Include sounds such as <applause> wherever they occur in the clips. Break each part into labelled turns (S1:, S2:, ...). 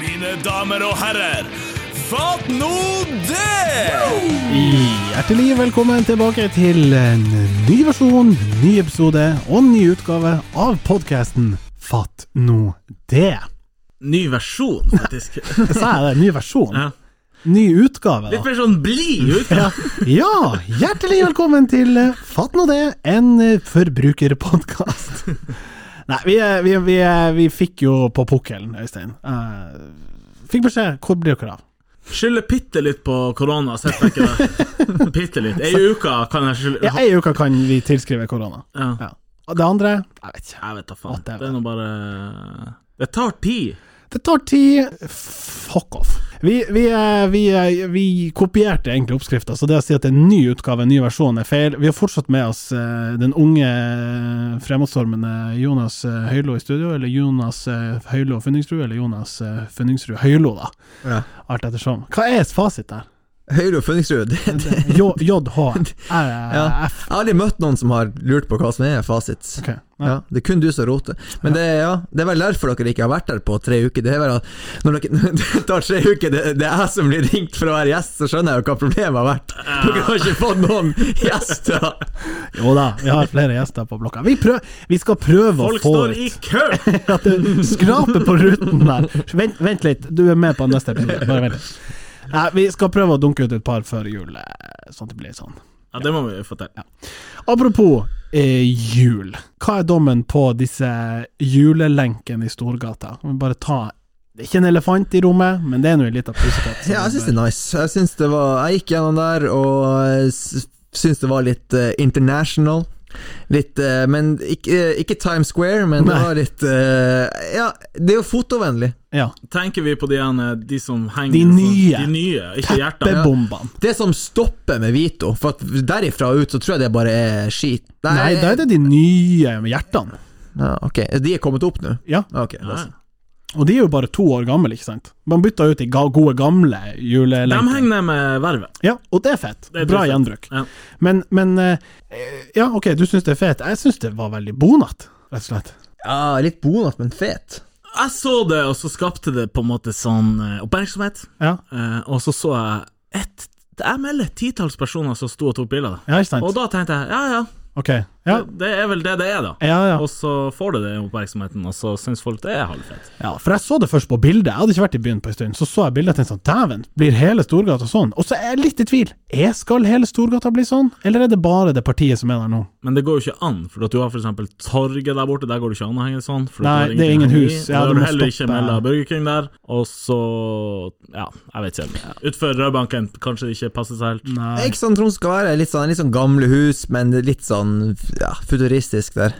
S1: mine damer og herrer. Fatt nå det!
S2: Hjertelig velkommen tilbake til en ny versjon, ny episode og ny utgave av podkasten Fatt nå det.
S3: Ny versjon,
S2: <laughs>
S3: faktisk.
S2: Sa jeg det? Ny versjon?
S3: Ja.
S2: Ny utgave,
S3: Litt
S2: da.
S3: mer sånn blid utgave.
S2: Ja, hjertelig velkommen til eh, Fatt nå det, en eh, forbrukerpodkast. Nei, vi, eh, vi, vi, eh, vi fikk jo på pukkelen, Øystein. Eh, fikk beskjed. Hvor blir dere av?
S3: Skylder bitte litt på korona, setter jeg ikke det? Bitte litt. Ei uke kan jeg skylde
S2: Ja, Ei uke kan vi tilskrive korona.
S3: ja.
S2: Ja. Og Det andre? Jeg vet ikke.
S3: Jeg vet da faen.
S2: At det er-
S3: Det er nå bare Det tar tid.
S2: Det tar tid. Fuck off. Vi, vi, eh, vi, eh, vi kopierte egentlig oppskrifta, så det å si at det er en ny utgave, en ny versjon, er feil. Vi har fortsatt med oss eh, den unge, eh, fremadstormende Jonas eh, Høylo i studio, eller Jonas eh, Høylo Funningsrud, eller Jonas eh, Funningsrud Høylo, da.
S4: Ja.
S2: Alt ettersom. Hva er fasit der?
S4: Høyre og Funningsrud. det- det-
S2: J- JH? Er det
S4: <laughs> Ja.
S2: F?
S4: Jeg har aldri møtt noen som har lurt på hva som er fasit.
S2: Ok. Nei.
S4: Ja, det er kun du som roter. Men det, er- ja, det er vel derfor dere ikke har vært der på tre uker. Det er vel at når dere <laughs> det tar tre uker, det, det er jeg som blir ringt for å være gjest, så skjønner jeg jo hva problemet har vært. Dere har ikke fått noen gjester.
S2: Jo da, vi har flere gjester på blokka. Vi, prøv, vi skal prøve å
S3: Folk
S2: få
S3: står i kø!
S2: at du skraper på ruten der. Vent, vent litt, du er med på neste episode. Bare vent litt. Nei, vi skal prøve å dunke ut et par før jul, eh, sånn at det blir sånn.
S3: Ja, det må vi få til.
S2: Apropos eh, jul. Hva er dommen på disse julelenkene i Storgata? Kan vi bare ta Det er ikke en elefant i rommet, men det er nå en liten pusekatt. som
S4: <laughs> Ja, jeg syns
S2: vi
S4: det er nice. Jeg, synes det var, jeg gikk gjennom der og eh, s- syns det var litt eh, international. Litt eh, Men ikke, eh, ikke Times Square, men det
S2: Nei.
S4: var litt eh, Ja, det er jo fotovennlig.
S2: bør- Ja.
S3: Tenker vi på de, ene- de som henger
S2: De
S3: sånn-
S2: nye.
S3: De nye, ikke hjertene.
S2: Teppebombene.
S4: Det som stopper med Vito, for at derifra ut så tror jeg det bare er skit.
S2: Nei, da er det de nye med hjertene.
S4: ja, Ok, de er kommet opp nå?
S2: Ja.
S4: Ok,
S3: Ja.
S4: nice.
S2: Og de er jo bare to år gamle, ikke sant? Man bytter ut de ga gode, gamle
S3: De
S2: julelenker.
S3: henger ned med vervet.
S2: Ja, og det er fett.
S3: Det er
S2: Bra
S3: fett.
S2: gjenbruk.
S3: Ja.
S2: Men, men eh, Ja, ok, du syns det er fet. Jeg syns det var veldig bonatt, rett og slett.
S4: Ja, litt bonat, men fet.
S3: Jeg så det, og så skapte det på en måte sånn eh, oppmerksomhet.
S2: Ja,
S3: Eh, og så så jeg et, Jeg melder et titalls personer som sto og tok bilder.
S2: ja ikke sant?
S3: Og da tenkte jeg ja, ja,
S2: Ok. Ja,
S3: Det, det er vel det det er, da.
S2: ja. ja.
S3: Og så får det den oppmerksomheten, og så syns folk det er halvfett.
S2: ja for jeg så det først på bildet. Jeg hadde ikke vært i byen på en stund. Så så jeg bildet og tenkte sånn Dæven, blir hele Storgata sånn? Og så er jeg litt i tvil. Er skal hele Storgata bli sånn, eller er det bare det partiet som er der nå?
S3: Men det går jo ikke an, for at du har for eksempel torget der borte, der går det ikke an å henge sånn. For at
S2: Nei,
S3: du har
S2: det er ingen
S3: ingenting å henge
S2: hus.
S3: i,
S2: Ja, du
S3: og da har
S2: må
S3: du heller ikke
S2: stoppe-
S3: melda Burger King der. Og så Ja, jeg vet ikke. Utfor Rødbanken kanskje det ikke passer seg helt.
S2: Nei.
S4: Ikke sånn Troms skal være. Litt sånn, litt sånn gamle hus, men litt sånn ja, futuristisk der.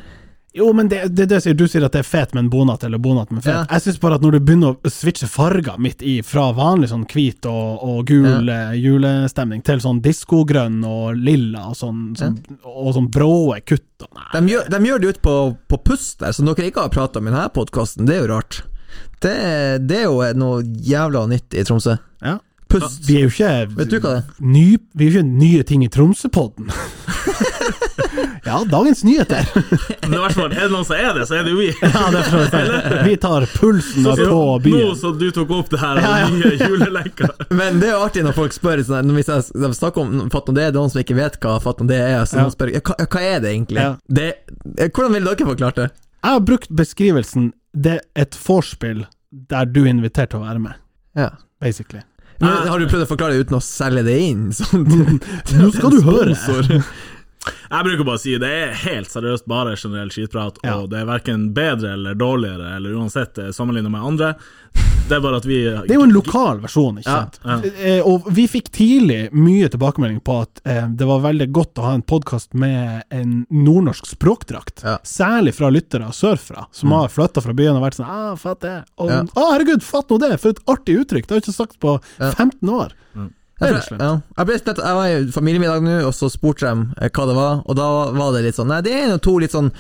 S2: Jo, men det, det, det sier, du sier at det er fet, men bonat eller bonat, men fet.
S4: Ja.
S2: Jeg syns bare at når du begynner å switche farger midt i, fra vanlig sånn hvit og, og gul eh, julestemning til sånn diskogrønn og lilla og sånn, sånn, og sånn bråe kutt og nei.
S4: De gjør, de gjør det ut på, på pust der, som dere ikke har prata om i denne podkasten. Det er jo rart. Det, det er jo noe jævla nytt i Tromsø.
S2: Ja.
S4: Pust.
S2: Vi er jo ikke
S4: Vet du hva det er?
S2: Ny, vi er jo ikke nye ting i Tromsøpodden. <laughs> ja, dagens nyheter.
S4: <laughs>
S3: Men i hvert fall, er det noen som er det, så er det jo vi.
S2: <laughs> Ja, det er for så vidt. Vi tar pulsen på
S3: Nå
S2: byen.
S3: som du tok opp det her, den nye julelenka.
S4: Men det er jo artig når folk spør sånn, her, når vi s- de snakker om Fatt om det, det er noen som ikke vet hva Fatt om det er, så
S2: Ja.
S4: noen spør ja, hva, hva er det egentlig?
S2: Ja.
S4: Det, eh, hvordan ville dere forklart det?
S2: Jeg har brukt beskrivelsen 'det er et vorspiel der du er invitert til å være med',
S4: Ja.
S2: basically. Ah.
S4: Men, har du prøvd å forklare det uten å selge det inn? <laughs> Sånn,
S2: Nå skal du høre.
S3: Jeg bruker bare å si det er helt seriøst bare generell skitprat,
S2: Ja.
S3: og det er verken bedre eller dårligere eller uansett eh, sammenlignet med andre. Det er bare at vi
S2: Det er jo en lokal versjon, ikke
S4: Ja,
S2: sant. Eh, Og vi fikk tidlig mye tilbakemelding på at eh, det var veldig godt å ha en podkast med en nordnorsk språkdrakt.
S4: Ja. Mm.
S2: Særlig fra lyttere sørfra, som har flytta fra byen og vært sånn ah, fatt det. Og,
S4: Ja.
S2: «Ah, herregud, fatt nå det! For et artig uttrykk! Det har jeg ikke sagt på
S4: Ja.
S2: 15 år.
S4: Jeg,
S2: Rett og
S4: tror-
S2: slett.
S4: ja. jeg, ble, nett- jeg var i familiemiddag nå, og så spurte de eh, hva det var, og da var det litt sånn Nei, det er en og to litt sånn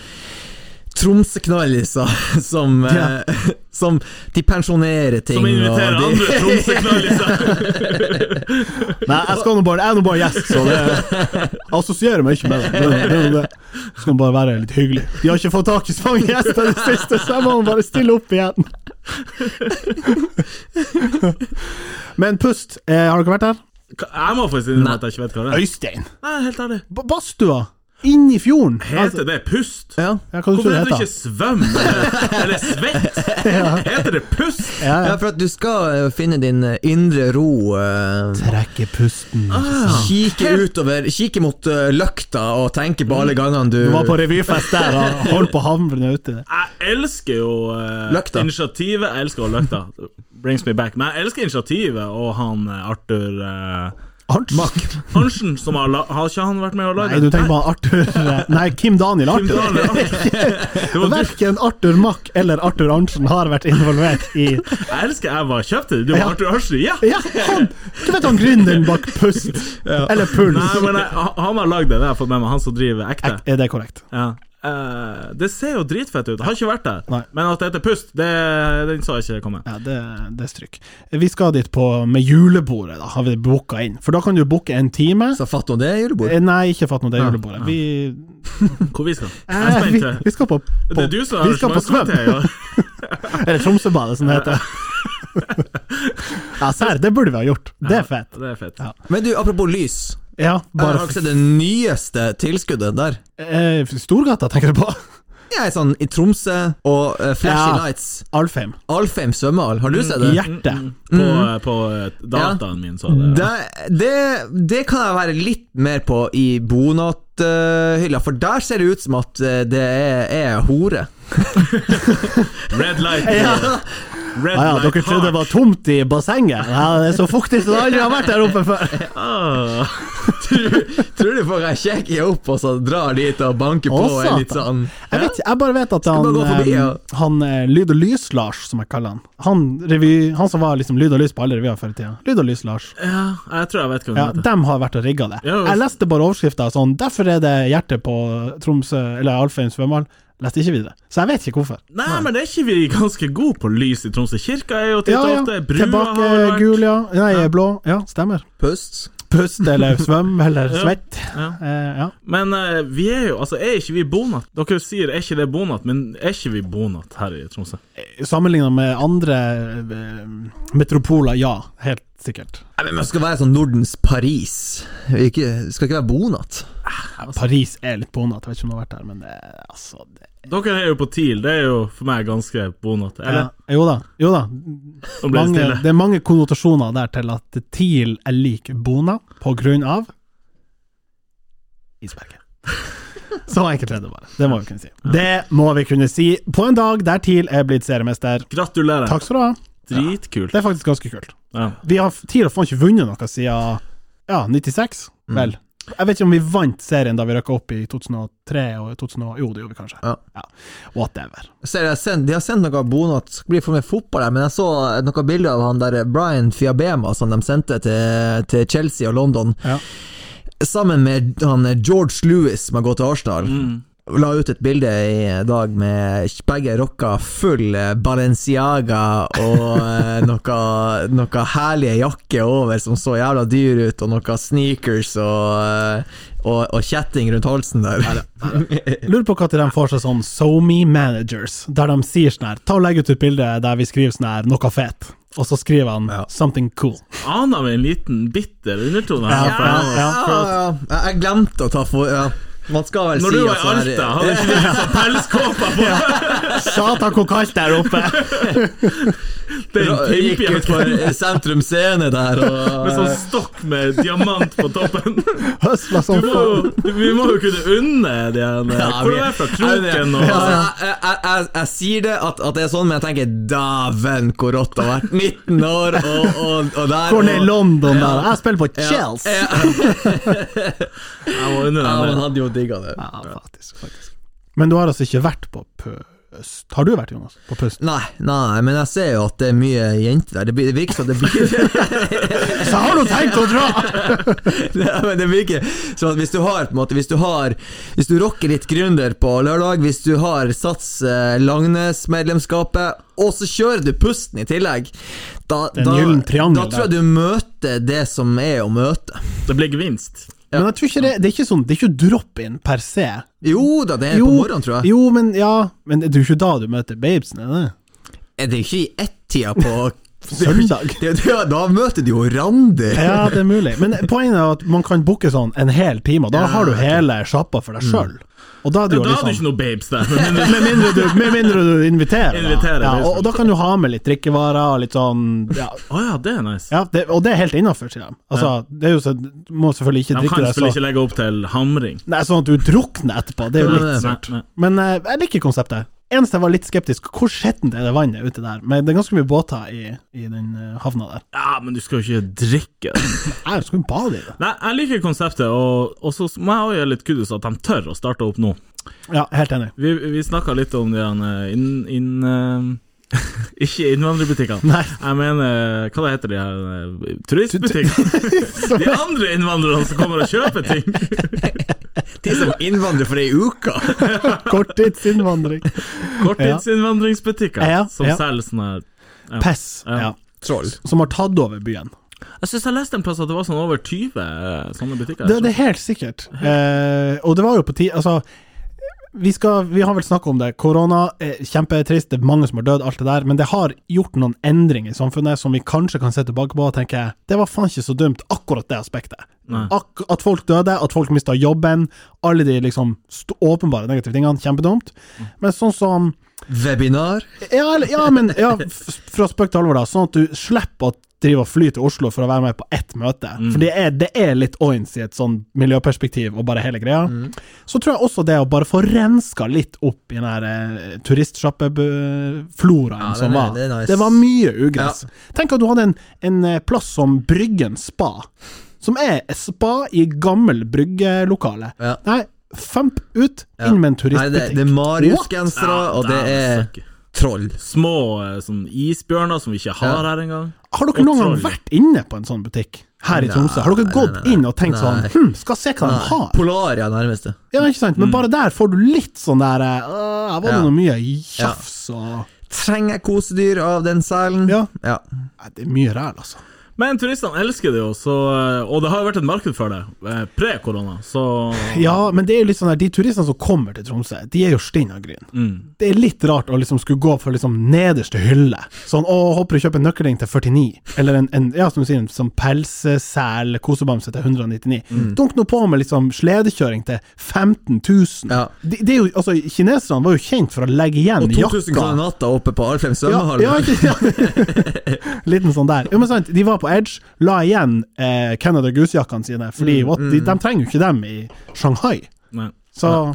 S4: Tromsøknalliser <laughs> som, eh, <laughs> som De pensjonerer ting.
S3: Som inviterer
S4: og de-
S3: andre
S2: <laughs>
S3: tromsøknalliser.
S2: Nei, jeg, skal nå bare, jeg er nå bare gjest, så det jeg assosierer meg ikke med det. det, det, det, det. Skal bare være litt hyggelig. De har ikke fått tak i så mange gjester i det siste, så jeg må bare stille opp igjen. <laughs> Men pust, eh, har dere vært der?
S3: Ka- Jeg må faktisk innrømme at jeg ikke vet hva det er.
S2: Øystein!
S3: Nei, helt ærlig.
S2: Ba- Badstua! Inni fjorden!
S3: Heter det pust?
S4: <laughs> Ja.
S2: Altså- Ja, hva du
S3: Hvorfor
S2: tror det
S3: heter det ikke
S2: heter?
S3: svøm eller, eller
S2: <laughs>
S3: svett? Heter det pust?
S2: Ja,
S4: ja,
S2: ja.
S4: for at du skal eh, finne din eh, indre ro. eh,
S2: Trekke pusten.
S4: Ah.
S2: Ah.
S4: Kikke utover, kikke mot eh, løkta og tenke på alle gangene du
S2: Du var på revyfest der og holdt på å havne uti det.
S3: Jeg elsker jo eh,
S4: Løkta.
S3: initiativet. Jeg elsker også løkta. Brings me back. Men jeg elsker initiativet og han eh, Arthur eh,
S2: Arnt?
S3: Hansen, som har, la- har ikke han vært med å lage
S2: Nei, du tenker på han Arthur eh, Nei, Kim Daniel
S3: Kim
S2: Arthur. <laughs>
S3: Dahl, ja. Det var du-
S2: Verken Arthur Mack eller Arthur Arntzen har vært involvert i
S3: Jeg elsker jeg var kjøpte det. Du var
S2: Ja.
S3: Arthur Hansen, <laughs> ja!
S2: Ja, han! Du vet han gründeren bak Pust? Eller Puls?
S3: Nei, men jeg, han- han har lagd det, det har jeg fått med meg. Han som driver ekte.
S2: Er det korrekt?
S3: Ja. Eh, det ser jo dritfett ut. Jeg har ikke vært der.
S2: Nei.
S3: Men at det heter Pust, det, den sa jeg ikke komme.
S2: Ja, det, det er stryk. Vi skal dit på med julebordet, da, har vi booka inn. For da kan du booke en time.
S4: Så fatt nå det, julebord.
S2: Eh, Nei, ikke fatt nå det julebordet. Vi,
S3: Hvor vi skal? Jeg er
S2: eh, vi,
S3: spent.
S2: vi skal på, på
S3: det er du som
S2: <laughs>
S3: har
S2: Vi skal på svøm.
S3: arrangementskomité, ja.
S2: <laughs> Eller Tromsøbadet, som det heter. Ja, serr, det burde vi ha gjort. Det er fett.
S3: Det er fett.
S2: Ja.
S4: Men du, apropos lys.
S2: Ja,
S4: Bare
S2: bare
S4: har du ikke sett det nyeste tilskuddet der?
S2: eh, Storgata, tenker du på?
S4: Jeg er sånn i Tromsø og eh,
S2: Ja.
S4: Flashy Lights.
S2: Alfheim.
S4: Alfheim svømmehall, har du sett det?
S2: Hjertet.
S3: På, på eh, dataen min, så det.
S4: Det, det, det kan jeg være litt mer på i Bonat-hylla, for der ser det ut som at eh, det er, er hore.
S3: Red light. Red
S2: Ja, ja,
S3: light
S2: dere trodde det
S3: hard.
S2: var tomt i bassenget? Ja, det er så fuktig som det aldri har vært der oppe før.
S3: Ah.
S4: Tror, tror du folk er kjekke i opp og så drar dit og banker på
S2: Å,
S4: og er litt
S2: satan.
S4: sånn
S2: Jeg, vet, jeg bare vet at han,
S4: bare gå forbi, ja.
S2: eh, han eh, Lyd og Lys-Lars, som jeg kaller han, han, revy, han som var liksom Lyd og Lys på alle revyer før i tida, Lyd og Lys-Lars,
S3: Ja, jeg tror jeg vet hva den
S2: ja,
S3: heter.
S2: dem har vært og rigga det.
S3: Ja, visst.
S2: Jeg leste bare overskrifta sånn, derfor er det hjertet på Tromsø, eller Alfheim svømmehall. Leste ikke videre, så jeg vet ikke hvorfor.
S3: Nei, men er ikke vi ganske gode på lys i Tromsø? Kirka er jo titt og ofte Brua
S2: Tilbake
S3: har vært
S2: gul, ja. Nei, blå. Ja, stemmer.
S4: pust.
S2: Pust eller svøm eller
S3: Ja.
S2: svett.
S3: Ja.
S2: Eh, ja.
S3: Men eh, vi er jo Altså, er ikke vi bonat? Dere sier er ikke det bonat, men er ikke vi bonat her i Tromsø?
S2: Sammenligna med andre eh, metropoler, ja. Helt sikkert.
S4: Nei, men Man skal være sånn Nordens Paris. Vi ikke, skal ikke være Bonat.
S3: altså.
S2: Paris er litt bonat, jeg vet ikke om du har vært der, men det, altså det,
S3: Dere er jo på TIL, det er jo for meg ganske bonat. Eller?
S2: ja. Jo da, jo da.
S3: Nå ble det
S2: Mange,
S3: stille.
S2: det er mange konnotasjoner der til at TIL er lik Bona på grunn av isberget. <laughs> Så enkelt er det bare. Det må vi kunne si. Det må vi kunne si på en dag der TIL er blitt seriemester.
S3: Gratulerer.
S2: Takk skal du ha.
S3: Dritkult.
S2: Det er faktisk ganske kult.
S3: Ja.
S2: Vi har TIL har faen ikke vunnet noe siden ja, 96, vel. Jeg vet ikke om vi vant serien da vi røkka opp i 2003 og 2000 Jo, det gjorde vi kanskje.
S4: Ja.
S2: Whatever.
S4: Ser jeg send, de har sendt noe av Bonat, det blir for mye fotball her, men jeg så noen bilder av han der Brian Fiabema som de sendte til, til Chelsea og London,
S2: Ja.
S4: sammen med han George Lewis som har gått til Arsenal. La ut et bilde i dag med begge rocka full eh, Balenciaga og eh, noe, noe herlige jakker over som så jævla dyr ut, og noe sneakers og, eh, og, og kjetting rundt halsen der.
S2: Lurer på hva til de får seg sånn SoMe managers, der de sier sånn her Ta og legg ut et bilde der vi skriver sånn her noe fett, og så skriver han
S4: Ja.
S2: something cool.
S3: Aner vi en liten bitter undertone her?
S2: Ja,
S3: for
S2: ja,
S3: han-
S2: ja.
S4: ja, ja. Jeg- Jeg glemte å ta for... Ja. Man skal vel
S3: Når
S4: si
S3: du var
S4: at
S3: i
S4: sånn her-
S3: Alta, hadde ikke du sånn pelskåpa på?
S2: Satan, hvor kaldt det er oppe!
S3: Det er en
S4: Ra- Gikk ut
S3: pimpjakke
S4: for sentrum scene der og
S3: <laughs> med sånn stokk med diamant på toppen.
S2: <laughs> Høsla
S3: Du
S2: som
S3: må,
S2: faen.
S3: jo- du, vi må jo kunne unne de en Hvor er du fra Kroken og
S4: Ja, Altså, jeg, jeg, jeg, jeg sier det at, at det er sånn, men jeg tenker dæven hvor rått det har vært. 19 år og, og, og der
S2: Hvor ned i
S4: og-
S2: London der? Jeg spiller på Chelsea!
S4: Ja,
S3: Jeg må unne
S4: ja, man
S3: dem det.
S4: hadde jo digga det.
S2: Ja, faktisk, faktisk. Men du har altså ikke vært på Pøst? Har du vært, Jonas? På Pøst?
S4: Nei, nei, men jeg ser jo at det er mye jenter der. Det, blir, det virker som det blir
S2: Så har du tenkt å dra!
S4: <laughs> Ja, men det virker sånn at hvis du har på en måte Hvis du har Hvis du rocker litt gründer på lørdag, hvis du har Sats eh, Langnes-medlemskapet, og så kjører du pusten i tillegg, da,
S2: er en
S4: da,
S2: gyllen triangel
S4: da tror jeg
S2: der.
S4: du møter det som er å møte.
S3: Det blir gevinst.
S2: <laughs> Men jeg tror ikke det, det er ikke sånn, det er ikke drop-in per se.
S4: Jo da, det er på morgenen, tror jeg.
S2: jo, men ja Men det er jo ikke da du møter babesen, er det?
S4: Er det ikke i ett-tida
S2: <laughs>
S4: på
S2: Søndag?
S4: Det, det, da møter du jo
S2: <laughs>
S4: Randi!
S2: Ja, det er mulig. Men poenget er at man kan booke sånn en hel time, og da
S4: Ja,
S2: har du hele sjappa for deg sjøl. Og da er det
S3: Da
S2: jo
S3: hadde du
S2: liksom
S3: ikke noe babes der. Men
S2: med mindre, du, <laughs> med mindre du inviterer. da. ja,
S3: Inviterer, det er
S2: og, og da kan du ha med litt drikkevarer og litt sånn ja,
S3: Å ja, det er nice.
S2: ja, det, Og det er helt innafor, sier de. Altså, det er jo så, du må selvfølgelig ikke
S3: De
S2: drikke
S3: kan
S2: deg
S3: selvfølgelig
S2: så
S3: ikke legge opp til hamring.
S2: Nei, sånn at du drukner etterpå. Det er jo
S4: Nei,
S2: litt
S4: nei,
S3: Nei,
S2: surt.
S3: nei.
S2: Men eh, jeg liker konseptet. Eneste jeg var litt skeptisk, hvor skjettent er det vannet ute der? Men det er ganske mye båter i, i den eh, havna der.
S3: Ja, men du skal jo ikke drikke.
S2: Her skal vi bade i det.
S3: Nei, jeg liker konseptet, og, og så må jeg også gjøre litt kudos at de tør å starte opp nå.
S2: Ja, helt enig.
S3: Vi, vi snakka litt om de her, eh, inn... inn eh, <laughs> ikke innvandrerbutikkene.
S2: Nei.
S3: Jeg mener, hva det heter de her eh,
S2: <laughs>
S3: Turistbutikkene! De andre innvandrerne som kommer og kjøper ting!
S4: De som innvandrer for ei
S2: <laughs>
S4: uke!
S2: Korttidsinnvandring. <laughs>
S3: Korttidsinnvandringsbutikker
S2: Ja,
S3: som
S2: ja.
S3: selger sånn her Ja.
S2: Pess,
S3: Ja.
S2: ja.
S4: Troll.
S2: Som har tatt over byen.
S3: Jeg syns jeg leste en plass at det var sånn over 20 eh, sånne butikker.
S2: Det, det er helt sikkert. Eh, og det var jo på tide Altså, vi, skal, vi har vel snakka om det. Korona er kjempetrist, det er mange som har dødd, alt det der. Men det har gjort noen endringer i samfunnet som vi kanskje kan se tilbake på og tenke det var faen ikke så dumt, akkurat det aspektet.
S3: Nei.
S2: Ak at folk døde, at folk mista jobben, alle de liksom st åpenbare negative tingene. Kjempedumt. Men sånn som
S4: Webinar.
S2: Ja, eller- ja men ja, f- fra spøk til alvor, da. Sånn at du slipper å drive og fly til Oslo for å være med på ett møte.
S4: Mm.
S2: For det er, det er litt oins i et sånn miljøperspektiv og bare hele greia.
S4: Mm.
S2: Så tror jeg også det å bare få renska litt opp i den her eh, turistsjappefloraen
S4: Ja, den
S2: som
S4: er-
S2: var.
S4: det er nice.
S2: Det var mye ugress. Tenk at du hadde en, en eh, plass som Bryggen spa, som er et spa i gammel bryggelokale.
S4: Ja.
S2: Nei, famp ut,
S4: Ja.
S2: inn med en
S4: Nei, det,
S2: turistbutikk.
S4: det er
S2: What?
S4: Marius-gensere,
S3: Ja,
S4: og det
S3: dæven
S4: er
S3: søkke.
S4: troll.
S3: Små eh, sånn isbjørner som vi ikke har her engang.
S2: Har dere noen gang
S3: Utrolig.
S2: vært inne på en sånn butikk her i
S4: Nei,
S2: Tromsø? Har dere
S4: nei,
S2: gått
S4: nei, nei.
S2: inn og tenkt sånn
S4: Nei.
S2: Hm, skal se hva de har?
S4: Polaria, nærmeste.
S2: Ja, ikke sant? Men bare der får du litt sånn der eh, «Åh, Her var det
S4: Ja.
S2: noe mye tjafs og
S4: Trenger jeg kosedyr av den selen?
S2: Ja.
S4: ja.
S2: Nei, Det er mye ræl, altså.
S3: Men turistene elsker det jo, så, eh, og det har jo vært et marked for det eh, pre-korona, så
S2: Ja, men det er jo litt sånn der, de turistene som kommer til Tromsø, de er jo stinn av gryn.
S3: mm.
S2: Det er litt rart å liksom skulle gå for liksom nederste hylle. Sånn, å, håper du kjøper en nøkkelring til 49, eller en, en ja, som du sier, en sånn pelsesel kosebamse til 199.
S4: Mm.
S2: Dunk nå på med liksom sledekjøring til 15 000.
S4: Ja.
S2: De, det er jo, altså, kineserne var jo kjent for å legge igjen
S4: Og 2000
S2: jakka.
S4: kroner natta oppe på
S2: Ja,
S4: Alfheim svømmehall.
S2: ja, ikke, ja.
S4: <laughs>
S2: Liten sånn der. Jo, men sant, de var på Edge, la igjen eh, Canada Goose-jakkene sine, Fordi
S4: Mm,
S2: what, de, de trenger jo ikke dem i Shanghai.
S3: Nei.
S2: Så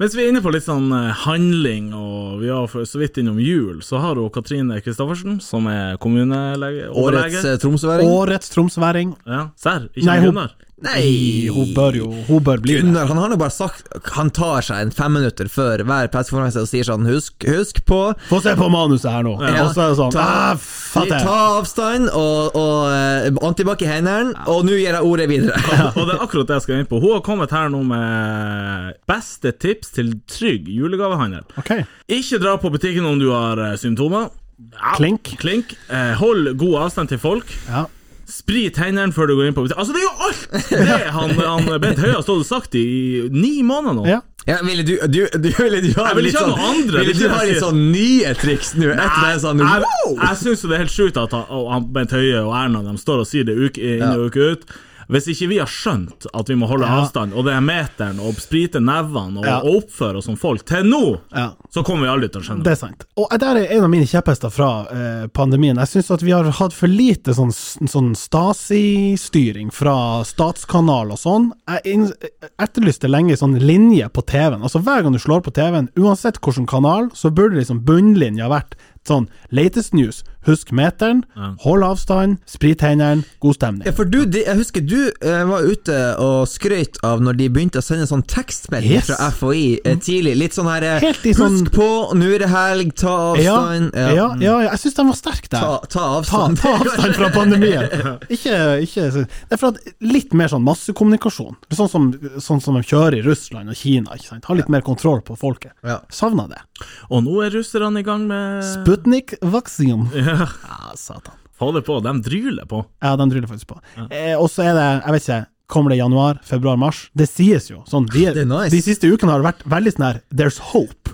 S3: Mens vi er inne på litt sånn eh, handling, og vi var for så vidt innom jul, så har jo Katrine Kristoffersen, som er kommunelege
S4: Årets
S3: overlege.
S4: eh, tromsøværing.
S2: årets tromsværing
S3: Ja, Serr, ikke
S2: Nei,
S3: Nei,
S2: hun-
S3: Gunnar.
S4: Nei!
S2: Hun bør jo Hun bør bli det.
S4: Gunnar han har nå bare sagt Han tar seg en femminutter før hver pressekonferanse og sier sånn Husk, husk på
S2: Få se på manuset her nå.
S4: Ja.
S2: Og så er det sånn
S4: Ta-
S2: ah, fatter jeg.
S4: Ta avstand og, og eh, antibac i hendene, og nå gir jeg ordet
S3: <laughs>
S4: videre.
S3: Og det er akkurat det jeg skal inn på. Hun har kommet her nå med beste tips til trygg julegavehandel.
S2: Ok.
S3: Ikke dra på butikken om du har eh, symptomer. Ja,
S2: Klink.
S3: Klink. Eh, hold god avstand til folk.
S2: Ja.
S3: Sprit hendene før du går inn på butikken. Altså, det er jo alt det han, han Bent Høie har stått og sagt i ni måneder nå.
S2: ja.
S4: Ja, ville du, du, du, ville du ha
S3: Jeg vil
S4: litt
S3: ikke ha
S4: sånn-
S3: noe andre,
S4: Ville
S3: det er
S4: du
S3: det
S4: ha
S3: jeg
S4: litt
S3: sier.
S4: sånn nye triks nå? Et eller annet sånn
S3: Jeg,
S4: wow!
S3: jeg syns det er helt sjukt at han, og han, Bent Høie og Erna de står og sier det uke inn og uke ut. Hvis ikke vi har skjønt at vi må holde
S2: Ja.
S3: avstand, og det er meteren, og sprite nevene, og,
S2: Ja.
S3: og oppføre oss som folk, til nå,
S2: Ja.
S3: så kommer vi aldri til å skjønne
S2: Det er sant. Og der er en av mine kjepphester fra eh, pandemien. Jeg syns at vi har hatt for lite sånn, sånn Stasi-styring fra statskanal og sånn. Jeg inn- etterlyste lenge sånn linje på TV-en. Altså Hver gang du slår på TV-en, uansett hvilken kanal, så burde liksom bunnlinja vært sånn Latest news. Husk meteren, hold avstand, sprit hendene, god stemning.
S4: Ja, for du, de, jeg husker du eh, var ute og skrøyt av når de begynte å sende sånn tekstmelding
S2: Yes.
S4: fra FHI eh, tidlig. Litt sånn her eh,
S2: Helt i
S4: Husk
S2: sånn-
S4: på, nå er det helg, ta
S2: Ja,
S4: avstand. Mm.
S2: ja, ja, ja, jeg syns den var sterk der.
S4: Ta, ta
S2: Ta,
S4: avstand.
S2: ta avstand fra <laughs> pandemien. Ikke, ikke Det er for at litt mer sånn massekommunikasjon. Sånn som, sånn som de kjører i Russland og Kina. Ikke sant? Ha litt mer kontroll på folket.
S4: Ja.
S2: Savna det.
S3: Og nå er russerne i gang med
S2: Sputnik-vaksinen. <laughs> Ja. satan.
S3: Få det på, de dryler på.
S2: Ja, den tryller faktisk på. Eh, og så er det, jeg vet ikke, kommer det januar, februar, mars? Det sies jo sånn. De,
S4: Det er nice.
S2: de siste ukene har det vært veldig sånn her There's hope.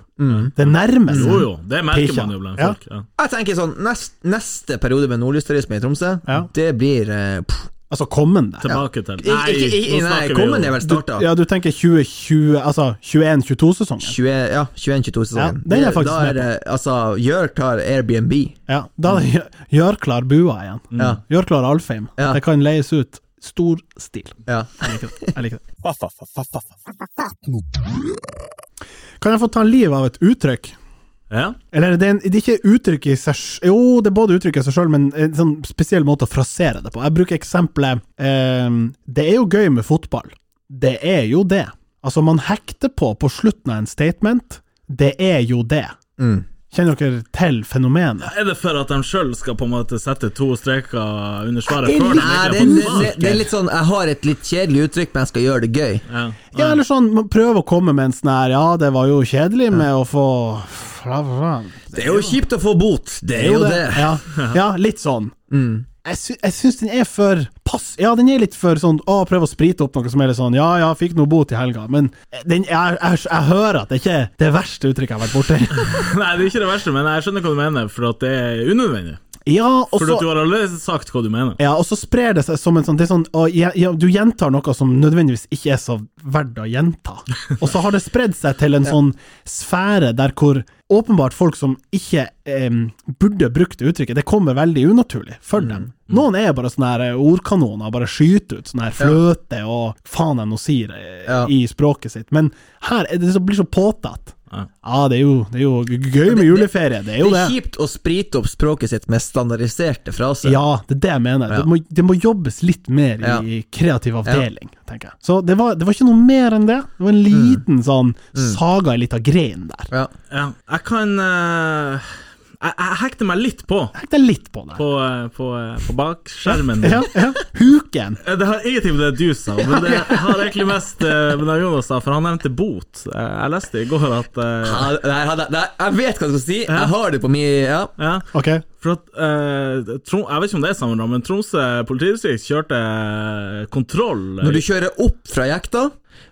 S2: Det nærmer seg.
S3: Jo, jo, det merker man jo blant
S2: Ja.
S3: folk. Ja.
S4: <laughs> Jeg tenker sånn, nest, neste periode med nordlysturisme i Tromsø,
S2: Ja.
S4: det blir eh, pff,
S2: Altså kommende.
S3: Tilbake til
S4: Nei, ikke, ikke, ikke, nei kommende er vel
S2: Du,
S4: starta.
S2: ja, du tenker 2020, altså 21-22-sesongen.
S4: 20, ja, 21-22-sesongen.
S2: Ja, den er jeg faktisk
S4: da
S2: med
S4: er det altså Gjør klar Airbnb.
S2: Ja, da er det gjør- gjør klar bua igjen.
S4: Mm. Ja,
S2: Gjør klar Alfheim.
S4: Ja.
S2: Det kan leies ut. Stor stil.
S4: <laughs> ja.
S2: Jeg liker det. Jeg liker det. Kan jeg få ta livet av et uttrykk?
S3: Ja.
S2: Eller det er, en, det er ikke uttrykk i seg sj- Jo, det er både uttrykk i seg sjøl, men en sånn spesiell måte å frasere det på. Jeg bruker eksempelet ehm, Det er jo gøy med fotball. Det er jo det. Altså, man hekter på på slutten av en statement. Det er jo det.
S4: Mm.
S2: Kjenner dere til fenomenet?
S3: Er det for at de sjøl skal på en måte sette to streker under svaret
S2: Det er
S3: før de
S2: litt-
S4: Nei,
S3: virkelig
S4: <laughs> det,
S3: har
S4: det,
S3: fått
S4: det,
S3: svar?
S4: det er litt sånn Jeg har et litt kjedelig uttrykk, men jeg skal gjøre det gøy.
S3: Ja.
S2: Ja, eller sånn, man prøver å komme med en sånn her Ja, det var jo kjedelig med å få
S4: Det er jo kjipt å få bot, det er jo det.
S2: Ja, ja litt sånn. Jeg, sy jeg syns den er for pass... Ja, den er litt for sånn å, prøve å sprite opp noe som er litt sånn Ja, ja, fikk noe bot i helga, men den, jeg, jeg, jeg hører at det ikke er det verste uttrykket jeg har vært borti.
S3: Nei, det er ikke det verste, men jeg skjønner hva du mener, for at det er unødvendig.
S2: Ja, og
S3: For
S2: så
S3: at du har allerede sagt hva du mener.
S2: ja, og så sprer det seg som en sånn, det er sånn å, ja, ja, Du gjentar noe som nødvendigvis ikke er så verdt å gjenta. Og så har det spredd seg til en sånn sfære der hvor åpenbart folk som ikke em, burde brukt det uttrykket, det kommer veldig unaturlig for dem. Noen er bare sånne her eh, ordkanoner, bare skyter ut sånne her fløte og faen jeg nå sier eh,
S4: Ja.
S2: i språket sitt. Men her er det så, blir det så påtatt.
S3: Ja.
S2: Ja, det, er jo, det er jo g- gøy med juleferie, det er
S4: Det
S2: jo det.
S4: er kjipt å sprite opp språket sitt med standardiserte fraser.
S2: Ja, det er det jeg mener.
S4: Ja.
S2: Det, må, det må jobbes litt mer i
S4: Ja.
S2: kreativ avdeling, tenker jeg. Så det var, det var ikke noe mer enn det. Det var
S3: Mm.
S2: en liten sånn saga i lita grein der.
S4: Ja.
S3: Ja. Jeg kan eh, jeg, jeg hekter meg litt på
S2: Jeg tenkte litt på det.
S3: på, eh, på, eh, på bakskjermen.
S2: Ja, ja. Huken.
S3: Eh, Det har ingenting med det du sa, men det har egentlig mest eh, med det Jonas sa, for han nevnte bot. Eh, Jeg leste i går at eh,
S4: Ja, Nei, nei, nei, jeg vet hva du skal si, jeg har det på min ja.
S3: ja,
S2: Ok.
S3: For at eh, Trom, Jeg vet ikke om det er samme, men Tromsø politidistrikt kjørte eh, kontroll
S4: Når du kjører opp fra jekta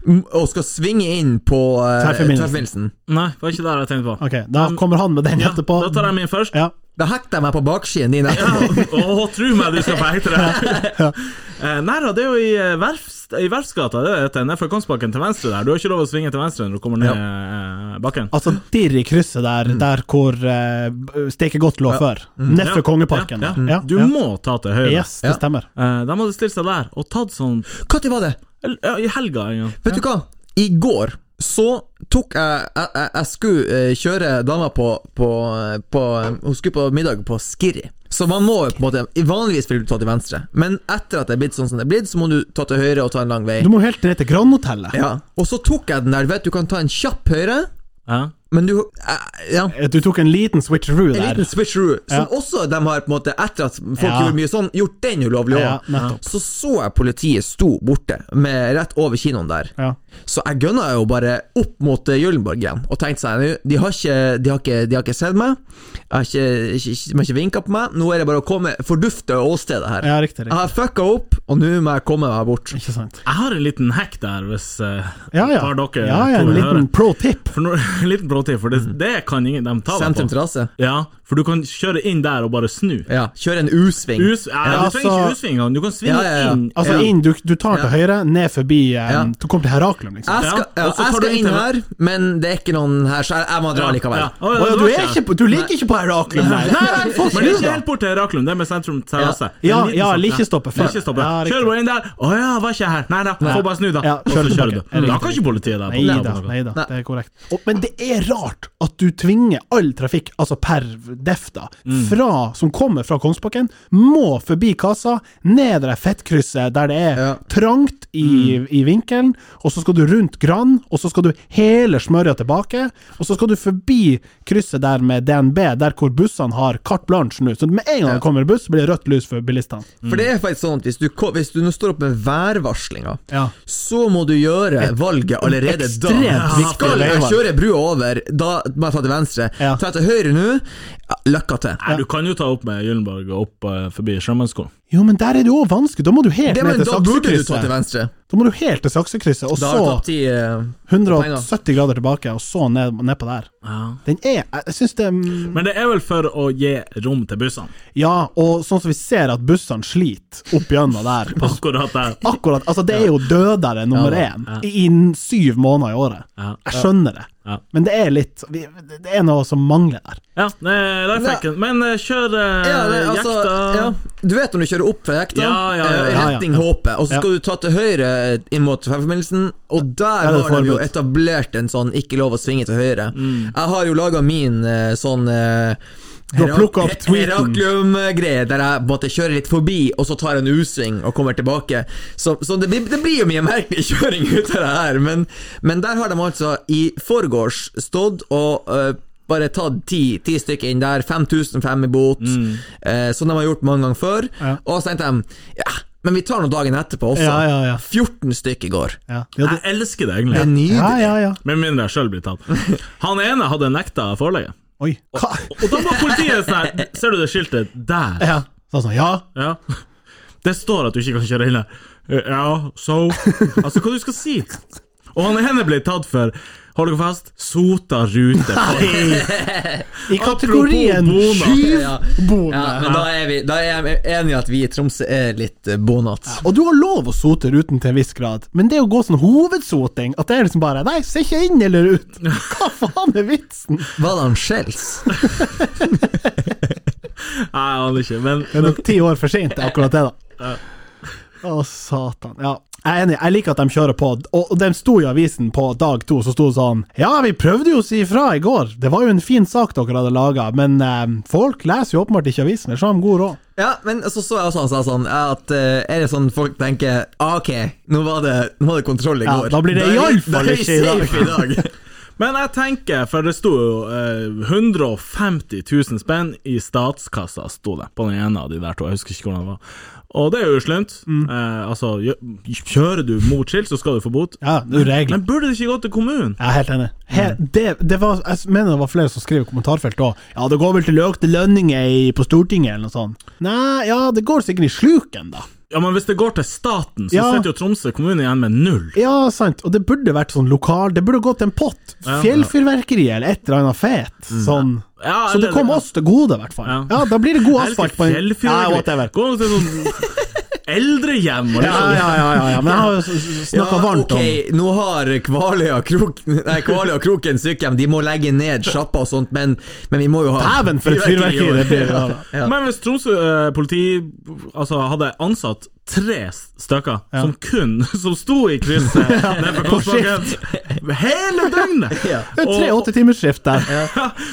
S4: m- og skal svinge inn på eh,
S2: Tverrforbindelsen.
S4: tverrforbindelsen,
S3: Nei, det var ikke det jeg tenkte på.
S2: Ok, Da kommer han med den
S3: Ja,
S2: etterpå.
S3: da tar jeg min først.
S2: Ja.
S4: da hekter jeg meg på bakskien din
S3: Ja,
S4: etterpå.
S3: Å, tro meg, du skal
S2: <laughs>
S3: få hekte deg! <laughs> Eh, Nei da, det er jo i, eh, verfst, i Verfsgata, det er det, ned fra Kongsbakken til venstre der. Du har ikke lov å svinge til venstre når du kommer ned eh, bakken.
S2: Altså dirr i krysset der, der hvor uh, stekegodt lå før. Nedfor
S3: Mm. Ja,
S2: Kongeparken.
S3: ja,
S2: Ja,
S3: ja. Du må ta til høyre.
S2: Yes, det
S4: Ja.
S2: stemmer.
S3: Eh, de hadde stilt seg der og tatt sånn
S4: Når var det?
S3: eller, ja, I helga en gang.
S4: Vet du hva? I går så tok jeg Jeg, jeg, jeg skulle eh, kjøre dama på, på, på Hun skulle på middag på Skirri. Så man må jo på en måte Vanligvis vil du ta til venstre, men etter at det er blitt sånn som det er blitt, så må du ta til høyre og ta en lang vei.
S2: Du må helt ned til Grandhotellet.
S4: Ja. Og så tok jeg den der, vet du, du kan ta en kjapp høyre,
S3: Ja.
S4: men du eh, Ja.
S2: Du tok en liten switcheroo
S4: En
S2: der.
S4: liten switcheroo, som også de har på en måte Etter at folk
S2: Ja.
S4: gjorde mye sånn, gjort den ulovlig
S2: Ja,
S4: òg.
S2: nettopp.
S4: så så jeg politiet sto borte, med, rett over kinoen der.
S2: Ja.
S4: Så jeg gønna jo bare opp mot eh, Gyllenborg igjen, og tenkte seg nå De har ikke, de har ikke, de har ikke sett meg, jeg har ikke, ikke, ikke, de har ikke vinka på meg, nå er det bare å komme fordufte åstedet her.
S2: ja, riktig.
S4: Jeg
S3: Ah.
S2: riktig.
S4: har fucka opp, og nå må jeg komme meg bort.
S2: Ikke sant.
S3: Jeg har en liten hekk der, hvis eh,
S2: Ja, ja.
S3: tar dere
S2: ja, ja
S3: to
S2: en
S3: vil
S2: liten Mm.
S3: høre.
S2: pro tip.
S3: For når, <laughs> en liten bråtid, for det, det kan ingen de ta deg
S4: Sentrum
S3: på.
S4: terrasse.
S3: Ja, for du kan kjøre inn der og bare snu.
S4: Ja, kjør en U-sving.
S3: Us, ja,
S2: Ja,
S3: du trenger ikke
S2: altså-
S3: U-sving engang, du kan svinge
S4: Ja, ja, ja.
S3: inn.
S2: Altså
S4: Ja.
S2: inn, du, du tar til
S4: Ja.
S2: høyre, ned forbi eh,
S4: Ja.
S2: Du kommer til Heraklum, liksom.
S4: Jeg skal,
S3: Ja,
S4: ja,
S3: og så tar
S4: jeg
S3: du
S4: skal
S3: inn
S4: inn
S3: til-
S4: her, men det er ikke noen her, så jeg, jeg må dra likevel.
S3: Ja. Å,
S2: Å
S3: ja,
S2: ja, du,
S3: det var
S2: er ikke på, du ligger ikke på Heraklum, nei! nei, nei få snu,
S3: Men det er ikke
S2: da!
S3: helt bort til Heraklum, det er med sentrum terrasse.
S2: Ja,
S3: En liten
S2: ja,
S3: sånn-
S2: likestoppet før.
S3: Likestoppet.
S2: Ja, riktig.
S3: Kjør bare inn der. Å ja, var ikke jeg her. Nei da, få bare snu, da.
S2: Ja,
S3: og så
S2: kjør
S3: kjører
S2: tilbake.
S3: du. Da
S2: Riktig,
S3: kan ikke politiet deg
S2: Nei da, nei da, det er korrekt. Og, men det er rart at du tvinger all trafikk, altså per def, da,
S4: Mm.
S2: fra, som kommer fra Kongsbakken, må forbi kassa, ned det der fettkrysset der det er
S4: Ja. Mm.
S2: trangt i, i vinkelen, og så skal du rundt Gran, og så skal du hele smørja tilbake, og så skal du forbi krysset der med DNB, der hvor bussene har carte blanche nå. Så med en gang det kommer buss, blir det rødt lys for bilistene.
S4: For det er faktisk sånn at hvis du, ko- hvis du nå står opp med værvarslinga,
S2: Ja.
S4: så må du gjøre valget allerede da.
S2: ekstremt viktig
S4: Skal jeg
S2: veivalg.
S4: kjøre brua over, da må jeg ta til venstre.
S2: Ja.
S4: Ta til høyre nå. Ja, Lykke til.
S3: Nei, du kan jo ta opp med Gyllenborg og opp eh, forbi Sjømannsskolen.
S2: Jo, men der er det jo også vanskelig. Da må du helt
S4: Det,
S2: ned
S4: men
S2: til
S4: da burde du ta til
S2: saksekrysset.
S4: venstre.
S2: Da må du helt til saksekrysset, og
S4: Da har du tapt
S2: så
S4: ti eh, penger.
S2: 170 grader tilbake, og så ned, ned på der. Den er Jeg syns det er-
S3: Men det er vel for å gi rom til bussene.
S2: Ja, og sånn som vi ser at bussene sliter opp gjennom der på
S3: Akkurat der.
S2: Akkurat, altså Det er jo dødere nummer én i i syv måneder i året.
S3: Ja.
S2: Jeg skjønner det,
S3: Ja.
S2: men det er litt vi- Det er noe som mangler der.
S3: Ja, nei, der fikk den. Men eh, kjør eh,
S4: Ja, det, altså,
S3: jekta.
S4: ja. Du vet når du kjører opp fra jekta,
S3: Ja, ja, ja,
S4: eh,
S2: ja, ja.
S4: retning håpet, og så skal du ta til høyre inn mot tverrforbindelsen, og der
S2: er det
S4: har de jo
S2: forbud. Mm.
S4: etablert en sånn 'ikke lov å svinge til høyre'. Jeg har jo laga min eh, sånn eh,
S2: Du har
S4: Herak-
S2: plukket opp tweeten.
S4: Heraklium-greie, der jeg måtte kjøre litt forbi, og så tar jeg en U-sving og kommer tilbake. Så, så det, blir- det blir jo mye merkelig <laughs> kjøring ut av det her, men, men der har de altså i forgårs stått og eh, bare tatt ti, ti stykker inn der, 5005 i bot, eh, som de har gjort mange ganger før.
S2: Mm. Ja.
S4: Og så tenkte de ja, men vi tar nå dagen etterpå også.
S2: Ja, ja, ja.
S4: 14 stykker i går.
S2: Ja, ja, det,
S3: Jeg elsker det,
S4: Det
S3: egentlig.
S4: er nydelig.
S2: ja, ja, ja.
S3: Med mindre jeg sjøl blir tatt. Han ene hadde nekta forlegget.
S2: Oi. Hva?
S3: Og da var politiet sånn her Ser du det skiltet der?
S2: Ja. Sånn sånn, ja.
S3: Ja. Det står at du ikke kan kjøre inn der. Ja, so Altså, hva du skal si? Og han ene ble tatt for Hold dere fast sota rute.
S2: I kategorien
S3: bonat.
S4: Ja.
S2: skyvbonde.
S4: Ja, men da er, vi, da er jeg enig i at vi i Tromsø er litt eh, bonat.
S2: Og du har lov å sote ruten til en viss grad, men det å gå sånn hovedsoting, at det er liksom bare Nei, se ikke inn eller ut! Hva faen er vitsen?
S4: Var det han Skjells?
S3: Nei, jeg aner ikke, men
S2: Det er nok ti år for sent, det er akkurat det, da. Å, satan. Ja. Jeg er enig, jeg liker at de kjører på, og og de sto i avisen på dag to, så sto det sånn Ja, vi prøvde jo å si ifra i går, det var jo en fin sak dere hadde laga, men eh, folk leser jo åpenbart ikke avisen, ellers har de god råd.
S4: Ja, men så så jeg også han sa sånn at eh, Er det sånn folk tenker ah, Ok, nå var det, nå var det kontroll i
S2: Ja,
S4: går.
S2: da blir det
S4: er vi-
S2: iallfall
S4: da er vi
S2: ikke i dag.
S4: safe i
S2: <laughs>
S4: dag.
S3: Men jeg tenker, for det sto jo eh, 150 000 spenn i statskassa, sto det, på den ene av de der to. Jeg husker ikke hvordan det var. Og det er jo slemt. Eh, altså, gjø- kjører du mot skilt, så skal du få bot.
S2: Ja, det er jo regler.
S3: Men burde det ikke gå til kommunen?
S2: Jeg er helt enig. He-
S3: Mm.
S2: det, det var, jeg mener det var flere som skrev i kommentarfeltet òg. Ja, det går vel til økte lønninger i, på Stortinget, eller noe sånt. Nei, ja, det går sikkert i sluken, da.
S3: Ja, men hvis det går til staten, så
S2: Ja.
S3: sitter jo Tromsø kommune igjen med null.
S2: Ja, sant. Og det burde vært sånn lokal Det burde gått til en pott.
S3: Ja. Mm.
S2: Fjellfyrverkeri eller et eller annet fet. Sånn.
S3: Ja,
S2: Så det
S3: eller-
S2: kom oss til gode, i hvert fall.
S3: Ja.
S2: Ja, da blir det god
S3: Jeg elsker
S2: asfalt på en Ja, whatever.
S3: fjellfyrverkeri. Gå til sånn eldrehjem og
S2: <laughs> Ja,
S3: liksom
S2: ja, ja, ja, ja. Men jeg har jo snakka
S4: Ja,
S2: varmt om
S4: ok, nå har Kvaløya Krok, nei, Kvaløya Kroken sykehjem De må legge ned sjappa og sånt, men, men vi må jo ha
S2: Dæven, for et fyrverkeri det blir.
S3: <laughs>
S2: Ja, da.
S4: Ja.
S3: Men hvis Tromsø eh, politi altså, hadde ansatt tre s- stykker som kun <laughs> som sto i
S2: <laughs>
S3: krysset nede på
S2: På
S3: Kongsbakken <laughs> hele døgnet,
S4: Ja.
S2: Det er tre
S3: Og- <laughs>
S2: åttetimersskift der.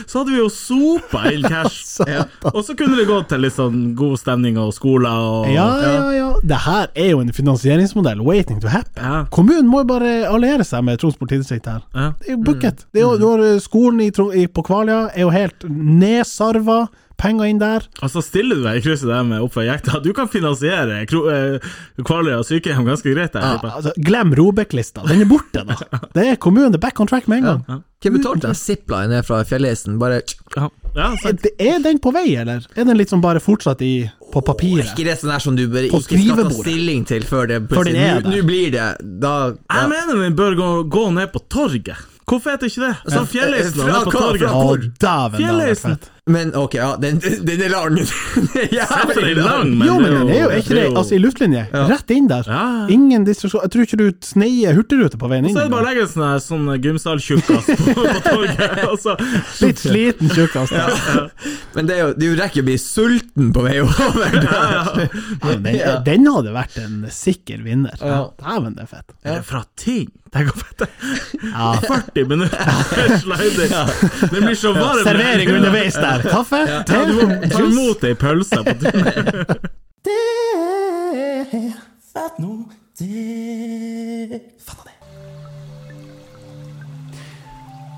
S3: så hadde vi jo sopa inn
S2: <laughs>
S3: cash.
S4: Ja.
S3: Og så kunne det gått til litt sånn god stemning og skoler og
S2: Ja, ja, ja. Det her er jo en finansieringsmodell waiting to happen.
S3: Ja.
S2: Kommunen må jo bare alliere seg med Troms politidistrikt her.
S3: Ja. Mm.
S2: Det er jo bucket. Det er jo, du har eh, skolen i, Tro- i, på Kvaløya er jo helt nedsarva. Penger inn der.
S3: Og så stiller du deg i krysset der med oppfor jekta. Du kan finansiere Kro- eh, Kvaløya sykehjem ganske greit. Jeg, tipper.
S2: Altså, glem Robek-lista. Den er
S3: <laughs>
S2: borte, da. Det er kommunen. Det er back on track med en gang.
S4: Hvem betalte den zipline ned fra fjellheisen? Bare
S3: ja. Ja,
S2: Er,
S3: sant.
S2: det- er den på vei, eller? Er den liksom bare fortsatt i, på
S4: Er
S2: papiret?
S4: ikke det sånn her som du bare
S2: På
S4: ikke skal ta
S2: skrivebordet.
S4: stilling til før det
S2: Før den er
S4: Nå-
S2: der.
S4: Nå blir det Da
S3: jeg mener den bør gå, gå ned på torget. Hvorfor heter ikke det? Altså, Fjellheisen og
S4: Fra
S3: ned på
S4: hva? Fra
S3: torget.
S2: Å, dæven, det hadde vært
S3: Fjellheisen.
S2: fett.
S4: Men ok, ja, den, den er lang. <laughs> Den er
S3: Derfor er
S4: jævlig
S3: den lang,
S4: lang.
S3: men
S2: jo, men den er jo er ikke det.
S3: er jo-
S2: Altså, i luftlinje. Rett inn der.
S3: Ja.
S2: Ingen distraksjon. Jeg tror ikke du sneier hurtigrute på veien inn.
S3: Så er det bare å legge en sånn, her- sånn gymsaltjukkas på, på torget, og så
S2: Litt sliten tjukkas.
S4: Men det er jo, du rekker jo å bli sulten på vei over. Der.
S2: Den, den hadde vært en sikker vinner.
S4: Ja.
S2: Dæven, det er fett.
S3: Er det fra ting? Tenk å fette. <laughs> 40 minutter sliding. Det blir så varm
S2: Servering underveis der. Kaffe, te,
S3: Ja, du må ta
S2: juice.
S3: imot ei pølse på turen.
S5: Fatt nå det Fatt nå det.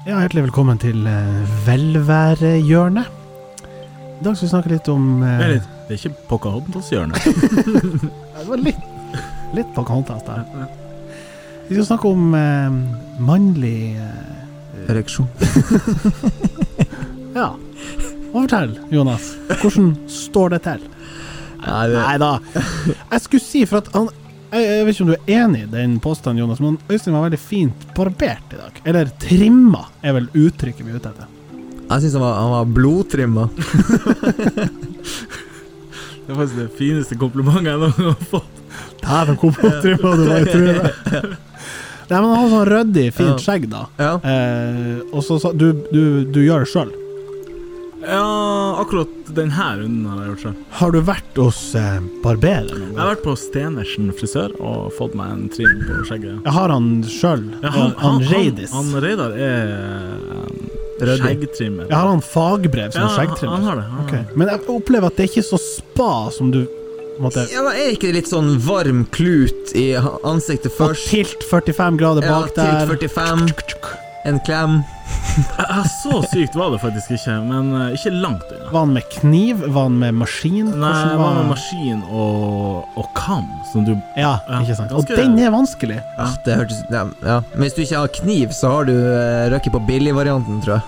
S2: Ja, hjertelig velkommen til eh, velværehjørnet. I dag skal vi snakke litt om eh,
S3: Vent litt, Det er ikke Pocahontas-hjørnet.
S2: ja, Det var litt, litt på kontrast der. Vi skal snakke om eh, mannlig eh,
S4: Ereksjon.
S2: Ja. Og fortell, Jonas. Hvordan står det til?
S4: Nei, det,
S2: Nei da. Jeg skulle si, for at han jeg, jeg vet ikke om du er enig i den påstanden, Jonas, men Øystein var veldig fint barbert i dag. Eller trimma, er vel uttrykket vi er ute etter.
S4: jeg syns han, var- han var blodtrimma.
S3: Det er faktisk det fineste komplimentet jeg noen gang har fått.
S2: Dæven, hvor påtrimma du var, jeg tror det. <laughs> Nei, men han har sånn ryddig, fint skjegg, da.
S4: Ja.
S2: Eh, og så sa du, du, du gjør det sjøl.
S3: Ja, akkurat denne runden har jeg gjort selv.
S2: Har du vært hos eh, barberer noen
S3: Jeg har vært på Stenersen frisør og fått meg en trim på skjegget.
S2: Jeg har han sjøl.
S3: Ja,
S2: han, han Reidis.
S3: Han, han Reidar er eh,
S4: Røddig.
S3: skjeggtrimmer.
S2: jeg har han fagbrev som
S3: Ja, han, han
S2: skjeggtrimmer.
S3: har det. Han,
S2: Ok. Men jeg opplever at det er ikke så spa som du på en måte,
S4: Ja, men Er ikke det litt sånn varm klut i ansiktet
S2: Og
S4: først?
S2: tilt 45 grader
S4: Ja,
S2: bak
S4: tilt
S2: der.
S4: 45, en klem.
S3: Jeg, jeg, så sykt var det faktisk ikke, men eh, ikke langt unna.
S2: Var han med kniv? Var han med maskin?
S3: Nei,
S2: Hvordan
S3: jeg var med maskin og, og kam, som du
S2: ja,
S3: Ja,
S2: ikke sant. Og
S3: ganske-
S2: den er vanskelig.
S4: Ja, Ah, det hørtes ja, ja. Men hvis du ikke har kniv, så har du uh, røkket på billigvarianten, tror jeg.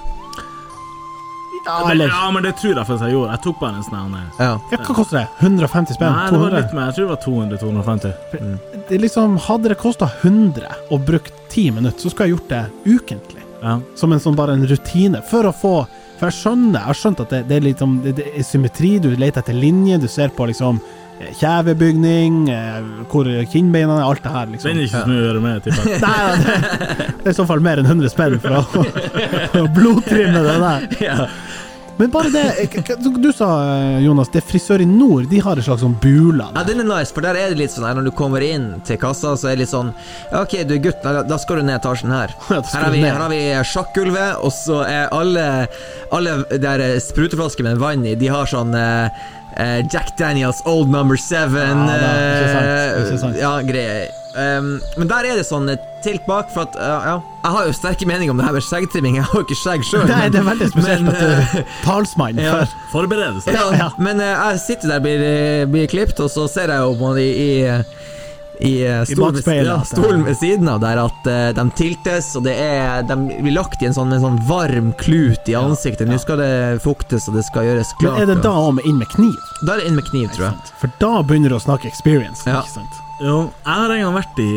S2: Ja,
S3: men,
S2: eller
S3: ja, men det tror jeg faktisk jeg gjorde. Jeg tok bare en sånn her.
S4: Ja.
S2: ja, Hva koster det? 150 spenn?
S3: Nei, det var
S2: 200?
S3: litt mer. Jeg tror det var 200-250.
S2: Det er liksom, hadde det kosta 100 og brukt 10 minutter, så skulle jeg gjort det ukentlig.
S3: Ja.
S2: Som en sånn bare en rutine, for å få For jeg skjønner, jeg har skjønt at det, det er litt sånn det, det er symmetri, du leter etter linjer, du ser på liksom eh, kjevebygning, eh, hvor kinnbeina er, alt det her, liksom.
S3: Den er ikke så mye å gjøre med, tipper jeg.
S2: Nei, ja, det, det er i så fall mer enn 100 spenn for å, å blodtrimme det der. <laughs> Men bare det k- k- Du sa, eh, Jonas, det er Frisør i Nord, de har en slags sånn bula.
S4: Ja, den er nice, for der er det litt sånn her Når du kommer inn til kassa, så er det litt sånn ja, Ok, du er gutt, da, da skal du ned etasjen her.
S2: Ja, da
S4: Her
S2: skal
S4: har
S2: du
S4: vi,
S2: ned.
S4: her har vi sjakkgulvet, og så er alle, alle der eh, spruteflasker med vann i, de har sånn eh, eh, Jack Daniels Old Number Seven
S2: Ja, da, ikke sant, ikke sant.
S4: eh, ja, greier. Um, men der er det sånn eh, tilt bak, for at eh, ja, ja. Jeg har jo sterke meninger om det her med skjeggtrimming, jeg har jo ikke skjegg sjøl.
S2: Nei, det er veldig spesielt
S4: <laughs> men, eh,
S2: at eh, du er talsmann
S4: ja.
S2: for
S3: Forberede seg.
S4: Ja,
S2: <laughs> Ja.
S4: men eh, jeg sitter der, blir, eh, blir klippet, og så ser jeg jo på de i i, eh, stolen ved-
S2: bakspeilet,
S4: ja,
S2: at det-
S4: stolen ved siden av der at eh, de tiltes, og det er De blir lagt i en sånn, en sånn varm klut i ansiktet. Nå skal det fuktes, og det skal gjøres klart.
S2: Men er det
S4: og-
S2: da om inn med kniv?
S4: Da er det inn med kniv, tror jeg.
S2: For da begynner du å snakke experience,
S4: Ja.
S2: ikke sant?
S3: Jo, jeg har en gang vært i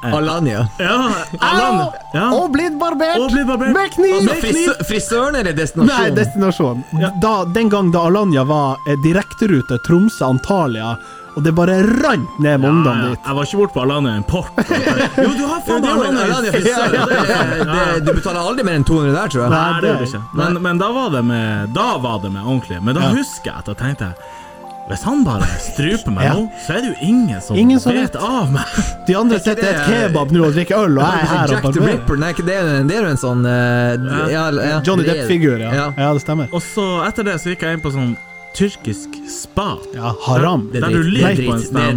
S3: Eh,
S4: Alanya.
S3: Ja, Alan. Ja.
S2: Og blitt barbert!
S3: Og blitt barbert.
S2: Med kniv!
S4: Altså frisø- frisøren eller
S2: Nei,
S4: destinasjonen?
S2: destinasjon. Da, den gang da Alanya var eh, direkterute Tromsø-Antalya, og det bare rant ned med ungdom
S3: Nei,
S2: dit.
S3: Jeg var ikke borte på Alanya Import. Jo, du har
S4: Ja,
S3: faen
S4: det
S3: meg
S4: er jo en
S3: Alanya
S4: Alanya
S3: Import.
S4: frisør. Det- det- Du betaler aldri mer enn 200 der, tror jeg.
S2: Nei.
S3: Nei, det gjør det ikke. Men,
S4: Nei.
S3: men da var det med Da var det med ordentlig. Men da
S2: Ja.
S3: husker jeg at jeg tenkte Hvis han bare struper meg
S2: Ja.
S3: nå, så er det jo ingen som,
S2: Ingen som
S3: vet
S2: vet.
S3: av meg. <laughs>
S2: De andre sitter i et kebab nå og drikker øl, og jeg er her
S4: Jack
S2: og
S4: the
S2: barberer.
S4: Ripper, nei, ikke det, det er jo en sånn eh, ja, ja,
S2: Johnny Depp-figur, ja.
S4: Ja.
S2: ja. Det stemmer.
S3: Og så etter det så gikk jeg inn på sånn tyrkisk spa.
S2: Ja, haram. Det
S4: Det er
S3: Der du
S4: drit,
S3: ligger
S4: det er
S3: på en
S4: drit, det er
S3: sånn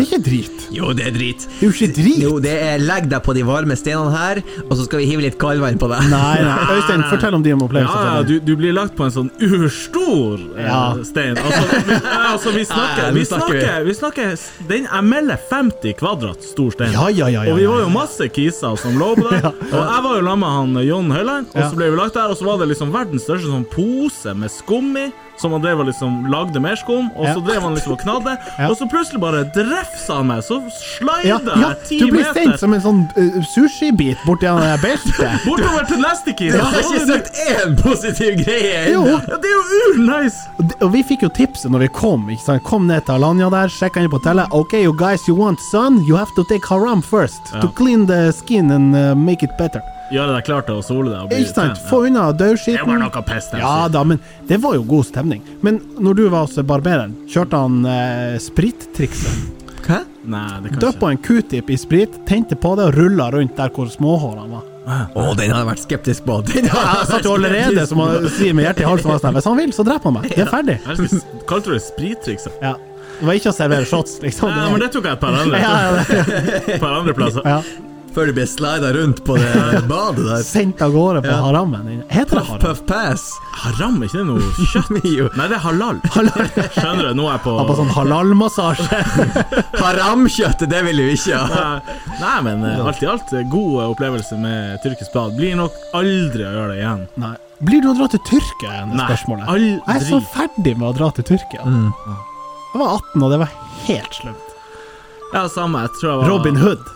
S2: er ikke drit.
S4: Jo, det er drit.
S2: Det er jo ikke drit.
S4: Jo, det er legg deg på de varme stenene her, og så skal vi hive litt kaldvann på deg.
S2: Nei, nei. Øystein, fortell om din opplevelse.
S3: Ja, ja,
S2: Fredrik.
S3: du, du blir lagt på en sånn urstor eh,
S2: Ja.
S3: stein. Altså, vi, ja, altså,
S2: <laughs>
S4: Ja,
S3: vi snakker
S4: ja,
S3: Vi
S4: nå snakker vi.
S3: snakker, vi snakker s- Den jeg melder 50 kvadrat stor stein.
S2: Ja, ja, ja, ja,
S3: og vi
S2: ja,
S3: var
S2: ja,
S3: jo masse kiser som lå på
S2: <laughs>
S3: der. Og jeg var jo sammen med han eh, John Høiland, og
S2: Ja.
S3: så ble vi lagt der. Og så var det liksom verdens største sånn pose med skum i, som han drev og liksom lagde mer skum, og
S2: Ja.
S3: så drev han liksom og knadde,
S2: Ja.
S3: og så plutselig bare drefsa han meg, så
S2: Ja,
S3: slider
S2: ja,
S3: jeg ti
S2: du blir
S3: meter
S2: sendt som en sånn eh, sushibit borti han der beltet.
S3: bortover til neste
S4: <laughs>
S3: kis.
S4: Jeg har ikke sagt én positiv greie!
S2: Jo,
S3: Ja, det er jo urnice!
S2: og det- og vi fikk jo tipset når vi kom. ikke sant? Kom ned til Alanya der, sjekka inn på hotellet. OK, you guys, you want sun? You have to take haram first. To clean the skin and eh, make it better.
S3: Gjøre deg klar til å sole deg. og bli
S2: Ikke sant?
S3: pen, ja.
S2: Få unna
S3: Det var
S2: daudskitten.
S3: noe pest. jeg
S2: Ja
S3: sier.
S2: da, men det var jo god stemning. Men når du var hos barbereren, kjørte han eh, sprittrikset?
S4: Hæ?
S3: Nei, det kan
S2: Døppa en q-tip i sprit, tente på det og rulla rundt der hvor småhårene var.
S4: Å, den har jeg vært skeptisk på. Den har
S2: Jeg satt jo allerede, som han sier med hjertet i halsen, var sånn, hvis han vil, så dreper han meg. Det er ferdig.
S3: ikke. Jeg elsker- Kalte du det sprittrikset?
S2: Ja. Det var ikke å servere shots, liksom.
S3: Nei, men det tok jeg et par andre,
S2: ja, ja, ja.
S3: et par andre plasser. <laughs>
S2: ja.
S4: Før du blir slida rundt på det badet der.
S2: Sendt av gårde på harammen. din. Heter det
S4: Puff,
S2: haram?
S4: puff, pass.
S3: Haram, er ikke det noe kjøtt?
S4: <laughs> Jo.
S3: Nei, det er halal. Skjønner du, nå er jeg på
S2: Ja, På sånn halalmassasje.
S4: Haramkjøttet, det vil vi ikke ha.
S3: Nei, Nei, men eh, alt i alt, eh, god opplevelse med tyrkisk blad. Blir nok aldri å gjøre det igjen.
S2: Nei. Blir du å dra til Tyrkia igjen, er
S3: Nei,
S2: spørsmålet?
S3: aldri.
S2: Jeg er så ferdig med å dra til Tyrkia. Jeg var 18, og det var helt slemt.
S3: Ja, samme. Jeg tror jeg var
S2: Robin Hood.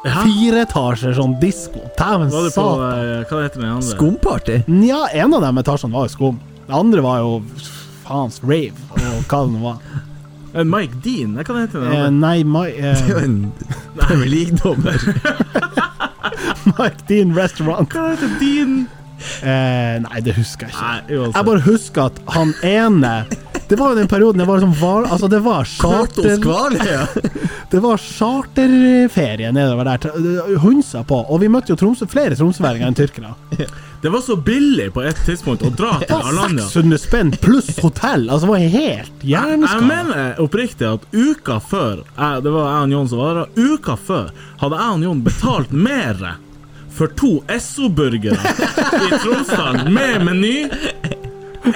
S3: Ja.
S2: Fire etasjer sånn disko. Dæven
S3: Var du på
S2: satan.
S3: eh, Hva heter den andre?
S4: Skumparty?
S2: Nja, en av de etasjene var jo skum. Det andre var jo faens rave, og hva det nå
S3: <laughs>
S2: var.
S3: Eh, Mike Dean? Nei, Hva heter den
S2: Eh,
S3: andre?
S2: nei, my,
S4: Det er
S3: <laughs>
S2: eh,
S4: jo en Premier League-dommer.
S2: Mike Dean Restaurant.
S3: Hva heter Dean?
S2: Eh, nei, det husker jeg ikke.
S3: Nei, uansett.
S2: Jeg bare husker at han ene Det var jo den perioden det var sånn var, Altså, det var
S4: Katos
S2: charter...
S4: Kvaløya!
S2: Det var charterferie nedover der. til- Hunsa på. Og vi møtte jo Tromsø, flere tromsøværinger enn tyrkere.
S3: Det var så billig på et tidspunkt å dra til
S2: Det var
S3: Arlanda.
S2: 600 spenn pluss hotell! Altså, det var helt
S3: Jeg
S2: hjerneskada.
S3: mener oppriktig at uka før jeg, Det var jeg og Jon som var der. og Uka før hadde jeg og Jon betalt mer for to Esso-burgere i Tromsdalen med meny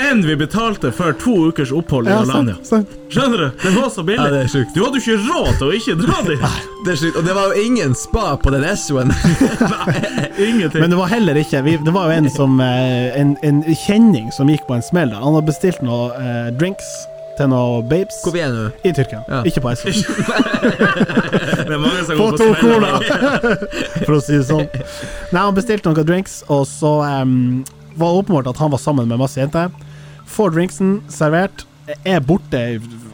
S3: enn vi betalte for to ukers opphold i
S2: Ja,
S3: Arlania.
S2: sant, sant.
S3: Skjønner du? Det var så billig.
S4: Ja, det er sjukt.
S3: Du hadde jo ikke råd til å ikke dra dit.
S4: Det er sjukt. Og det var jo ingen spa på den Essoen.
S2: Men
S3: Ingenting.
S2: det var heller ikke vi, Det var jo en som eh, en, en kjenning som gikk på en smell der. Han hadde bestilt noe eh, drinks til noe babes
S4: Hvor vi er nå?
S2: i Tyrkia.
S4: Ja.
S2: Ikke på
S4: <laughs>
S2: Island.
S3: Det er mange som
S2: På
S3: går på
S2: to
S3: smell.
S2: cola, <laughs> for å si det sånn. Nei, han bestilte noen drinks, og så em, var det åpenbart at han var sammen med masse jenter. Får drinksen servert, er borte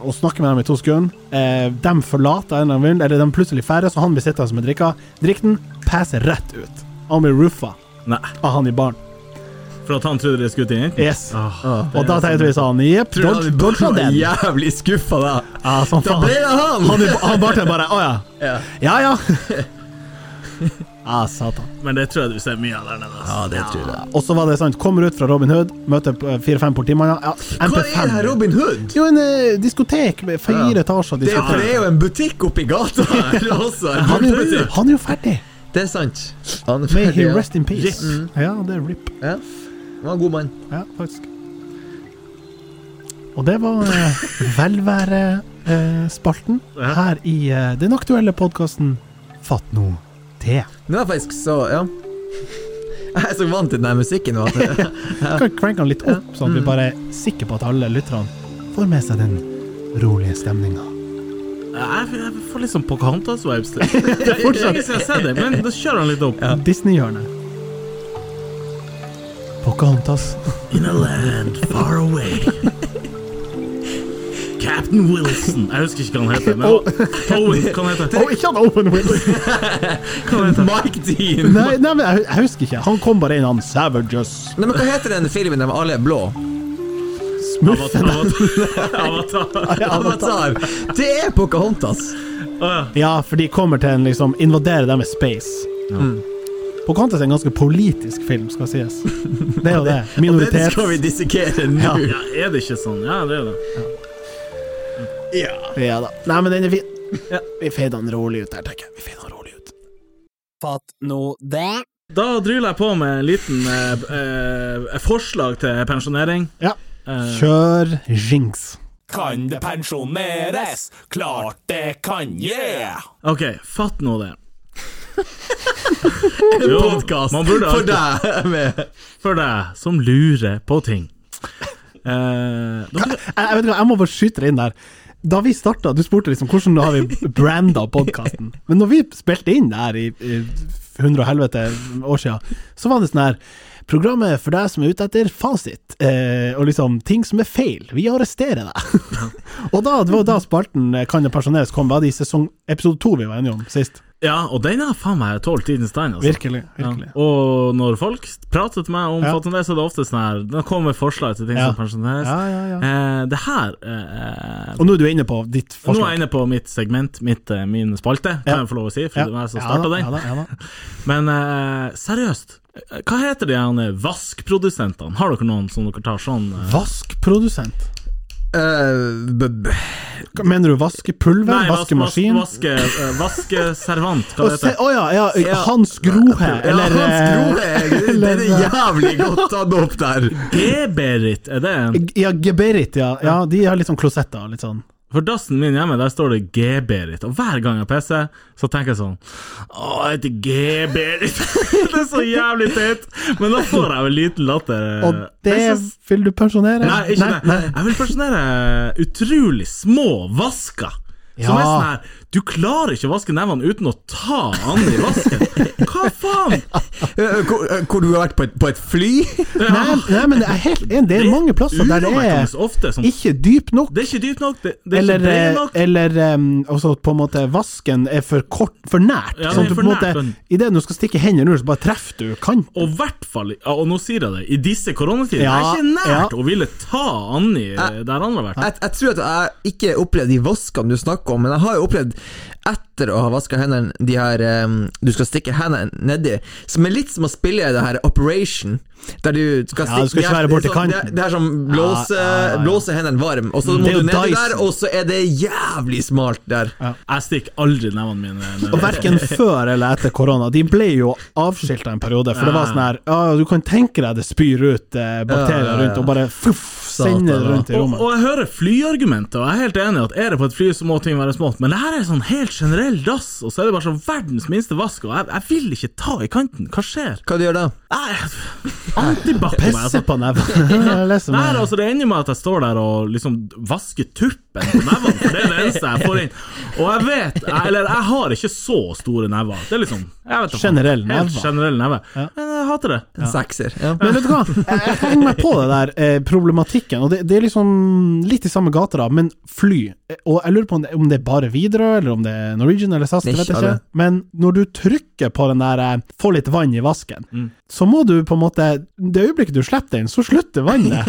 S2: og snakker med dem i to sekunder. Eh, de forlater en eller annen grunn, eller de plutselig færre, så han blir sittende med drikka. Drikten passer rett ut. Han blir roofa
S3: Nei,
S2: av han i baren.
S3: for at han trodde det skulle til jentene.
S2: Yes.
S3: Ah,
S2: Og da tenkte vi sånn Jepp,
S4: Tror du
S2: dodge- dodge
S4: han var
S2: den.
S4: <laughs> jævlig skuffa da?
S2: Ja, sånn
S4: Da
S2: faen.
S4: ble det
S2: Han,
S4: han!
S2: i- han bartenderen bare Å ja.
S4: Ja.
S2: Ja
S4: <laughs>
S2: ja. Ah, satan.
S3: Men det tror jeg du ser mye av der nede. altså.
S4: Ja, det tror jeg.
S2: Og så var det sant, kommer ut fra Robin Hood, møter eh, fire-fem politimanner. Ja,
S4: Hva er det her, Robin Hood?
S2: Jo, en eh, diskotek med fire
S4: Ja.
S2: etasjer.
S4: Det er, jo- for
S2: diskotek.
S4: det er jo en butikk oppi
S2: <laughs>
S4: gata her også. En
S2: han, er jo,
S4: butikk.
S2: han er jo ferdig!
S4: Det er sant. Han er
S2: May
S4: ferdig,
S2: he
S4: ja. Mm.
S2: rest in peace.
S3: Rip.
S2: Ja, det er rip.
S4: Ja. Han var en god mann.
S2: Ja, faktisk. Og det var
S4: <laughs>
S2: eh, velværespalten
S3: Ja.
S2: her i eh, den aktuelle podkasten Fatt nå det.
S4: Nå er jeg faktisk så Ja. Jeg er så vant til den her musikken
S2: <laughs>
S4: nå at det-
S2: Vi kan cranke den litt opp, sånn at
S4: Mm.
S2: vi bare er sikre på at alle lytterne får med seg den rolige stemninga.
S3: Jeg, jeg får litt
S4: <laughs>
S3: sånn Pocahontas-vibes. til. Det er fortsatt ikke jeg ser det, men da kjører han litt opp.
S2: Disney-hjørnet. <laughs> Pocahontas.
S3: In a land far away. Captain Wilson Jeg husker ikke hva han heter. Men Owen, hva han heter
S2: Å, ikke han Open <laughs> Wills!
S4: Mike Dean!
S2: nei, nei, men jeg, jeg husker ikke. Han kom bare inn, han Savages.
S4: Nei, men Hva heter den filmen der alle er
S2: <laughs>
S4: blå?
S2: Smurfen.
S3: Avatar. Avatar.
S4: Avatar! Det er Pocahontas!
S3: Å ja.
S2: Ja, for de kommer til en liksom Invaderer dem med space. Pocahontas er en ganske politisk film, skal sies. Det er jo <laughs> det.
S4: Det
S2: Minoritets...
S4: skal vi dissekere
S2: Ja.
S4: nå.
S3: ja, er det ikke sånn? Ja, det er det.
S2: <laughs> Ja da. Nei, men den er fin. Vi fader den rolig ut der, tenker jeg. Vi fader den rolig ut. Fatt nå det.
S3: Da dryller jeg på med en liten eh, eh, forslag til pensjonering.
S2: Ja.
S3: Eh,
S2: Kjør jinx.
S1: Kan det pensjoneres? Klart det kan, yeah!
S3: OK, fatt nå det.
S4: Podkast
S3: man burde
S4: for
S3: alltid-
S2: <laughs>
S4: deg med
S3: For deg som lurer på ting. Eh, dere,
S2: Jeg, jeg vet ikke, hva, jeg må bare skyte det inn der. Da vi starta, du spurte liksom hvordan har vi branda podkasten. Men når vi spilte inn det her i, i hundre og helvete år sia, så var det sånn her Programmet for deg som er ute etter fasit, eh, og liksom ting som er feil. Vi arresterer deg. <laughs> og da, det var da spalten eh, Kan det pensjoneres kom, var det i sesong episode to vi var enige om sist.
S3: ja, og den har faen meg tålt tidens tegn. Altså.
S2: Virkelig. virkelig.
S3: Ja. Og når folk prater til meg om
S2: Ja.
S3: ja. det, så er det ofte sånn her De kommer med forslag til ting
S2: Ja.
S3: som pensjoneres.
S2: Ja, ja, ja.
S3: Eh, det her eh,
S2: Og nå er du inne på ditt
S3: Nå er
S2: forslag.
S3: jeg inne på mitt segment, mitt, eh, min spalte,
S2: Ja.
S3: kan jeg få lov å si, for det var jeg som starta
S2: da,
S3: den.
S2: Ja, da, ja, da.
S3: Men eh, seriøst, eh, hva heter de her vaskprodusentene? Har dere noen som dere tar sånn eh,
S2: Vaskprodusent.
S4: Eh, b- b-
S2: Hva Mener du vaskepulver?
S3: vas- vas-
S2: vaskemaskin?
S3: Vaske, eh, vaskeservant,
S2: <laughs>
S3: hva
S2: Å
S3: det heter det?
S2: oh, ja, ja,
S4: Ja.
S2: Hans Grohe,
S4: Ja,
S2: eller
S4: Hans Grohe,
S2: eh,
S4: den er
S2: eller-
S4: jævlig godt tatt opp der. Eh,
S3: Geberit, er det en
S2: Ja, Geberit, ja. ja. De har litt sånn klosetter. Litt sånn.
S3: For dassen min hjemme, der står det G-Berit, og hver gang jeg pisser, så tenker jeg sånn Å, jeg heter G-Berit! <laughs> det er så jævlig teit! Men da får jeg vel liten latter.
S2: Og det
S3: Jeg synes-
S2: vil du pensjonere?
S3: Eh, Nei, ikke det. Jeg vil pensjonere utrolig små vasker. Som er
S2: Ja.
S3: sånn her Du klarer ikke å vaske nevene uten å ta an i vasken! Hva
S2: <laughs>
S3: faen?
S4: Eh, Hvor, eh, hvor du har vært på et, på et fly?
S2: Nei, nei, men jeg er helt enig. Det er mange plasser der det er
S3: urovekkende ofte som
S2: ikke dyp nok.
S3: Det er ikke dypt nok, det, det er
S2: Eller, eh,
S3: ikke bredt nok.
S2: eller em, altså på en måte vasken er for kort, for nært.
S3: Ja, det er
S2: sånn at du
S3: for
S2: på en
S3: nært,
S2: måte
S3: sånn.
S2: Idet du skal stikke hendene ut, så bare treffer du kanten.
S3: Og i hvert fall, ja, og nå sier jeg det, i disse koronatider Det
S2: Ja,
S3: er ikke nært
S2: ja.
S3: å ville ta Anni eh, der han har vært.
S4: Jeg, jeg tror at jeg ikke har opplevd de vaskene du snakker om, men jeg har jo opplevd, etter å ha vaska hendene, de her eh, du skal stikke hendene nedi, som er litt som å spille det her Operation, der du skal
S2: Ja, du skal
S4: de
S2: ikke
S4: her-
S2: være borti
S4: det er sånn-
S2: kanten.
S4: Det, er- det er som blåse,
S2: ja, ja.
S4: blåse hendene varm, og så
S2: Det er
S4: må du
S2: jo
S4: nedi
S2: Dyson.
S4: der, og så er det jævlig smalt der.
S3: Jeg stikker aldri nevene mine ned.
S2: Og verken før eller etter korona. De ble jo avskilta en periode, for det var sånn her «Å, Du kan tenke deg det spyr ut eh, bakterier
S4: Ja, ja, ja.
S2: rundt, og bare fuff,
S4: Satan,
S2: sender det rundt i
S3: Og,
S2: rommet.
S3: og jeg hører flyargumenter, og jeg er helt enig i at er det på et fly, så må ting være smått, men det her er sånn helt generell dass, og så er det bare sånn verdens minste vask, og jeg, jeg vil ikke ta i kanten. Hva skjer?
S4: Hva du gjør da?
S3: Jeg- Antibac på meg, altså.
S2: Pisse på neven. Jeg leser
S3: Nei,
S2: meg.
S3: altså Det ender med at jeg står der og liksom vasker tuppen på nevene. For det er det eneste jeg får inn. Og jeg vet jeg- Eller jeg har ikke så store never. Det er liksom jeg vet ikke.
S2: Generell
S3: Helt
S2: never.
S3: generell neve. Men jeg hater det.
S4: En sekser. Ja.
S2: Men vet du hva, jeg, jeg henger meg på det der eh, problematikken, og det, det er liksom litt i samme gata, da, men fly. Eh, Og jeg lurer på om det, om det er bare Widerøe, eller om det er Norwegian eller SAS, det
S4: Det er
S2: vet jeg
S4: ikke
S2: ikke.
S4: alle.
S2: Men når du trykker på den der eh, 'få litt vann i vasken', så må du på en måte Det øyeblikket du slipper den, så slutter vannet.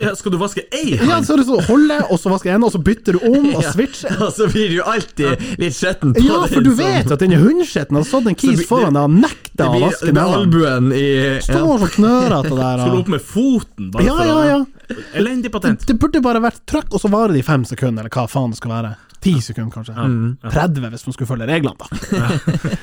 S3: Ja, skal du vaske ei
S2: Ja,
S3: hånd?
S2: så er det sånn holde, og så vasker en, og så bytter du om, og switcher.
S4: <laughs> Og så blir du alltid litt skjetten på
S2: Ja, for
S4: den,
S2: du
S4: så-
S2: vet at den er hundskitten, og så den
S4: sånn. Så
S2: kis
S4: det-
S2: foran deg og nekter
S4: Det
S2: å
S4: blir
S2: vaske
S4: med
S2: nevene.
S4: albuen i ja.
S2: Står så knørete
S4: <laughs>
S2: der.
S3: Skal du opp
S2: Og...
S3: med foten? Bare
S2: Ja,
S4: sånn,
S3: for
S2: ja,
S3: å-
S2: ja.
S3: Elendig patent.
S2: Det burde bare vært trykk, og så varer det i fem sekunder, eller hva faen det skal være. Ti sekunder, kanskje.
S4: Mm,
S2: 30, hvis man skulle følge reglene, da.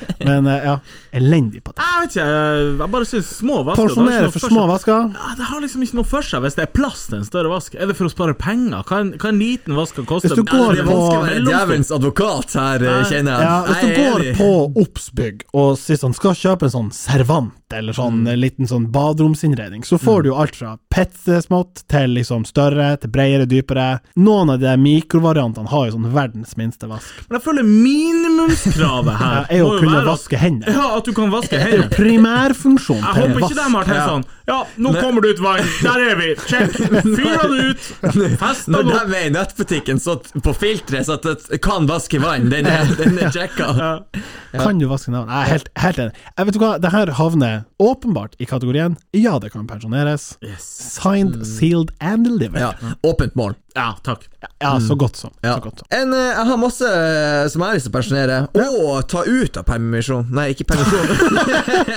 S2: <laughs> Men eh, ja, elendig på det.
S3: Jeg vet ikke, jeg- jeg bare syns små vasker det har
S2: Pensjonere
S3: ikke
S4: sånn
S3: noe
S2: for
S3: seg.
S2: små vasker.
S3: Ja, Det har liksom ikke noe for seg hvis det er plass til en større vask. Er det for å spare penger? Hva en, hva en liten vask kan koste?
S2: Hvis du
S3: Ja,
S2: går
S4: Det er vanskelig å
S2: på-
S4: være djevelens advokat her, eh, kjenner jeg.
S2: Ja, hvis du
S4: Jeg er
S2: går
S4: enig.
S2: på Obs-bygg og sier sånn, skal kjøpe en sånn servant eller sånn
S3: Mm.
S2: eh, liten sånn baderomsinnredning, så får du jo alt fra petsmått til liksom større, til bredere, dypere. Noen av de der mikrovariantene har jo sånn verdens minste
S3: <laughs>
S2: vask.
S3: Men jeg føler minimumskravet her
S2: <laughs> Ja, er å
S3: må jo
S2: kunne
S3: være at-
S2: vaske hender.
S3: Ja, at du kan vaske
S2: Det er jo
S3: hendene.
S2: primærfunksjon
S3: Jeg
S2: til
S3: håper ikke
S2: vask.
S3: de har tenkt sånn Ja, nå kommer det ut vann! Der er vi!
S2: <laughs>
S3: Check! Fyr det ut! Fest
S4: Når
S3: den opp!
S4: de er i nettbutikken, så t- på filteret, så at det kan vaske vann. Den er, den er sjekka.
S2: Kan du vaske navn? Jeg er helt, helt enig. Jeg vet du hva, det her havner åpenbart i kategorien Ja, det kan pensjoneres. Signed,
S3: Mm.
S2: sealed and delivered.
S4: Ja,
S2: Ja,
S4: åpent mål.
S3: Ja, takk. Mm.
S2: så godt som.
S4: Ja.
S2: Så godt som.
S4: En, eh, jeg har masse eh, som jeg har lyst til å pensjonere. Og ta ut av permisjon. Nei, ikke permisjon.
S2: <laughs>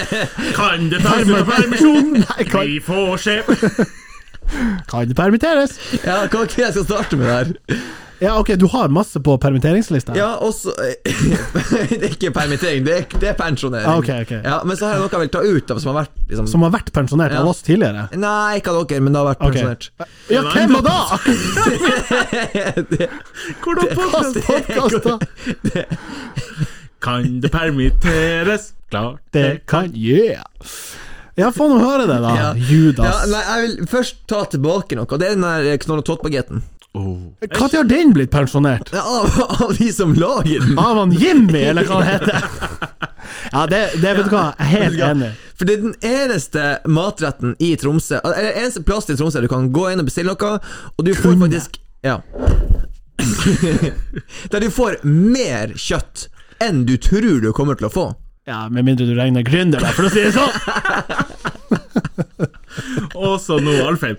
S3: Kan det tas ut av permisjon?
S2: Nei, kan-
S3: Vi får se.
S2: Kan det permitteres?
S4: ja, hva er det jeg skal starte med der?
S2: Ja, ok, du har masse på permitteringslista.
S4: Ja, også <laughs> Det er ikke permittering, det er, det er pensjonering.
S2: Ah, ok, ok.
S4: Ja, men så har jeg noe jeg vil ta ut av som har vært liksom
S2: Som har vært pensjonert
S4: Ja.
S2: av oss tidligere.
S4: Nei, ikke av dere, men det har vært
S2: Ok. <laughs>
S4: pensjonert.
S2: Ja, hvem
S4: <laughs>
S2: var <laughs> da?
S3: Hvordan podcast?
S2: Podcast,
S4: <laughs>
S2: da.
S3: Kan det permitteres? Klart
S2: Det kan Yeah! Ja, få nå høre det, da.
S4: Ja. Ja,
S2: Judas.
S4: nei, jeg vil først ta tilbake noe, og det er den eh, der Knoll og Tott-bagetten.
S2: Når har den blitt pensjonert?
S4: Ja, Av, av de som lager den!
S2: Av han Jimmy, eller hva han
S4: <laughs>
S2: heter? Ja, det, det vet du hva, jeg er helt enig.
S4: For det er den eneste matretten i Tromsø Eller eneste plass i Tromsø du kan gå inn og bestille noe, og du får faktisk Ja. <laughs> Der du får mer kjøtt enn du tror du kommer til å få.
S2: Ja, med mindre du regner gründer, da, for å si det sånn.
S3: Også nå, Alfheim.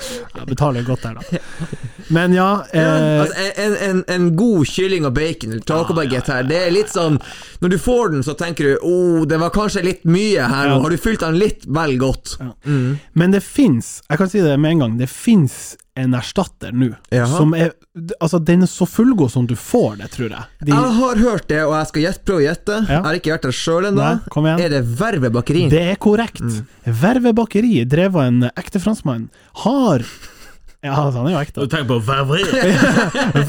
S2: Jeg betaler godt
S4: <laughs>
S2: der, da. Men ja, eh,
S4: Altså, en, en, en god kylling og bacon eller tacobagett
S2: Ah,
S4: her, det er litt sånn Når du får den, så tenker du 'Å, oh, det var kanskje litt mye her nå'. Har du fylt den litt vel godt?
S2: men det fins, jeg kan si det med en gang, det fins en erstatter nå
S4: Jaha.
S2: som er Altså, den er så fullgod som du får det, tror jeg. De,
S4: Jeg har hørt det, og jeg skal gjette, prøve å gjette.
S2: Ja.
S4: Jeg har ikke vært der sjøl ennå.
S2: Nei, kom igjen.
S4: Er det Verve bakeri?
S2: det er korrekt. Verve Bakeri, drevet av en ekte franskmann, har Ja, altså, han er jo ekte.
S3: Du tenker på Vervé.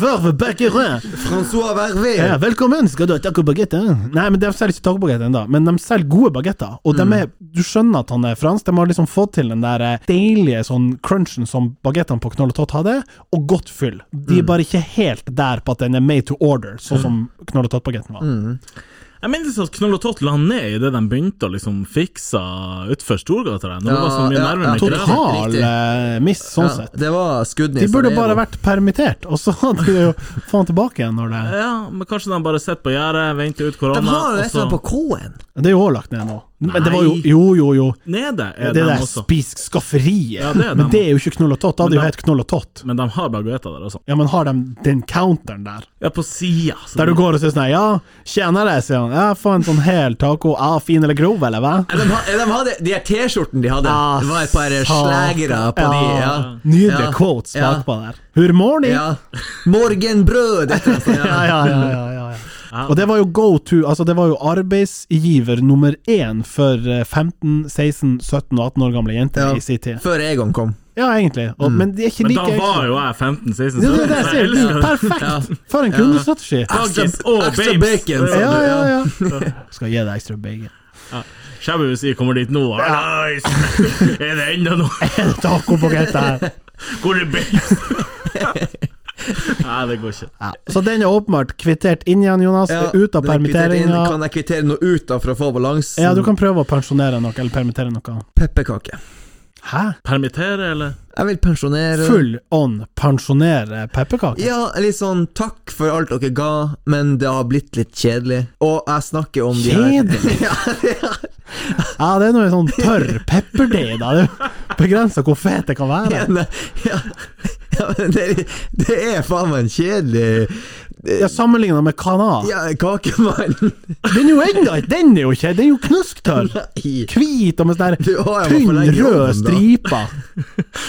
S2: Verve Becquerin.
S4: Francois Vervé!
S2: Ja, velkommen, skal du ha taco-bagette? Nei, men de selger ikke taco-bagette ennå, men de selger gode bagetter. Og
S3: Mm.
S2: de er, du skjønner at han er fransk. De har liksom fått til den der eh, deilige sånn crunchen som bagettene på Knoll og Tott hadde, og godt fyll.
S3: Mm.
S2: De er bare ikke helt der på at den er made to order, sånn som Knoll og Tott-bagetten var.
S3: Mm. Jeg minnes at Knoll og Tott la ned idet de begynte å liksom fikse utfor Storgata der. Når det
S4: Ja,
S3: var så mye
S4: ja,
S3: nerver med
S4: ja,
S3: greier.
S2: Total
S4: Riktig.
S2: eh, miss, sånn
S4: Ja,
S2: sett.
S4: det var skuddnisse.
S2: De burde
S4: det er
S2: bare
S4: jo-
S2: vært permittert, og så hadde de jo få han tilbake igjen når det
S3: Ja, men kanskje de bare sitter på gjerdet, venter ut korona,
S4: De har jo
S3: og
S4: et eller
S3: så
S4: annet på K-en.
S2: Det er jo òg lagt ned nå. Men det var jo
S3: Nei.
S2: Jo, jo, jo.
S3: Nede er
S2: Det der
S3: de også.
S2: spisk skafferiet.
S3: Ja, det er
S2: men
S3: dem.
S2: det er jo ikke Knoll og Tott. Da hadde
S3: Men
S2: jo
S3: dem-
S2: hett Knoll og Tott.
S3: Men de har baguetter der også.
S2: Ja, men har de den counteren der?
S3: Ja, på altså. sida.
S2: Der du går og sier sånn her, Ja, tjenere, sier han. Ja, få en sånn hel taco. Ja, fin eller grov, eller hva?
S4: Ja, De, ha- ja, de, hadde, de her T-skjortene de hadde,
S2: Ah,
S4: det var et par
S2: satan.
S4: slegere på de. Ja.
S2: Nydelige
S4: Ja.
S2: quotes
S4: Ja.
S2: bakpå der. Hur mår ni?
S4: ja. Morgenbrød, et eller annet sånt.
S2: ja,
S4: Ja.
S2: ja, ja, ja, ja, ja. Og det var jo go to, altså det var jo arbeidsgiver nummer én for eh, 15, 16, 17 og 18 år gamle jenter
S4: Ja. Mm.
S2: i sin tid.
S4: Før Egon kom.
S2: Ja, egentlig. Og, Men de er ikke
S3: Men
S2: like
S3: da var
S2: ekstra.
S3: jo jeg 15-16,
S2: Ja,
S3: så
S2: det er det jeg sier.
S3: elsker det.
S2: Perfekt! For en kundestrategi.
S3: Dagis
S4: Ekstra-
S3: og
S4: ekstra
S3: babes.
S4: bacon,
S3: Det var
S2: Ja,
S3: det.
S2: ja, ja. Skal gi deg ekstra bacon.
S3: Shabby vil si 'kommer dit nå'. Nice. Er det ennå noe?
S2: <laughs> Taco på gata her.
S3: Hvor er babes? Nei, det går ikke.
S2: Ja. Så den er åpenbart kvittert inn igjen, Jonas.
S4: Ja,
S2: Ut av
S4: den er kvittert inn.
S2: permitteringa.
S4: Kan jeg kvittere noe ut da for å få balansen?
S2: Ja, du kan prøve å pensjonere noe, eller permittere noe.
S4: Pepperkake.
S2: Hæ?
S3: Permittere, eller?
S4: Jeg vil pensjonere
S2: Full on pensjonere pepperkaker?
S4: Ja, litt sånn takk for alt dere ga, men det har blitt litt kjedelig. Og jeg snakker om de her
S2: Kjedelig?
S4: <laughs> Ja, ja.
S2: Ja, det er noe sånn tørr pepperdeig, da. Det er jo begrensa hvor fet det kan være.
S4: Ja, nei, ja. Ja, men det, det er faen meg en kjedelig
S2: Ja, Sammenligna med kanal.
S4: ja, kakemann.
S2: Den er jo enda Den er jo ikke Den er jo knusktørr!
S4: Nei.
S2: Hvit og med sånn
S4: Du, å,
S2: der
S4: jeg
S2: tynn,
S4: må forlenge
S2: rød
S4: jobben, da.
S2: stripe.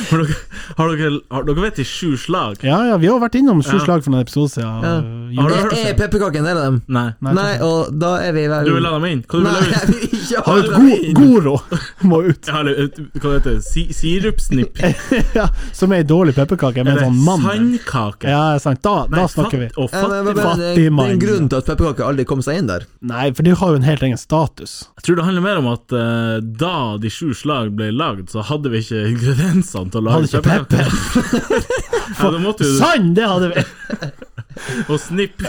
S3: Har dere, har dere, har dere vet de sju slag?
S2: Ja, ja, vi har vært innom sju
S3: Ja.
S2: slag for noen episoder siden.
S4: Ja.
S2: øh, jul.
S3: Har du
S4: Er,
S3: hørt
S4: er pepperkaken en del av dem?
S3: Nei.
S2: Nei,
S4: Nei, og da er vi vel
S3: Du vil la dem inn? Hva du vil
S4: Nei,
S3: ha
S4: <laughs>
S3: ut?
S4: jeg vil ikke ha
S2: Har
S4: dem
S2: god,
S4: inn.
S2: Goro må ut.
S3: Ja, eller, uh, hva heter det? Si,
S2: <laughs>
S3: sirupsnipp?
S2: ja, som er ei dårlig pepperkake med
S3: Eller
S2: sånn mandel.
S3: sandkake?
S2: Ja, sant. Da, da
S3: Nei,
S2: snakker vi.
S3: fatt- Og
S4: Ja, Eh, men, men,
S3: fattig
S4: men, det, er- det er
S2: Fattigmann.
S4: en grunn til at pepperkaker aldri kom seg inn der.
S2: Nei, for de har jo en helt egen status.
S3: Jeg tror det handler mer om at eh, da de sju slag ble lagd, så hadde vi ikke ingrediensene til å
S2: Hadde
S3: lage
S2: ikke pepper.
S3: Ja, da måtte du
S2: Sann, det hadde vi!
S3: og snipp.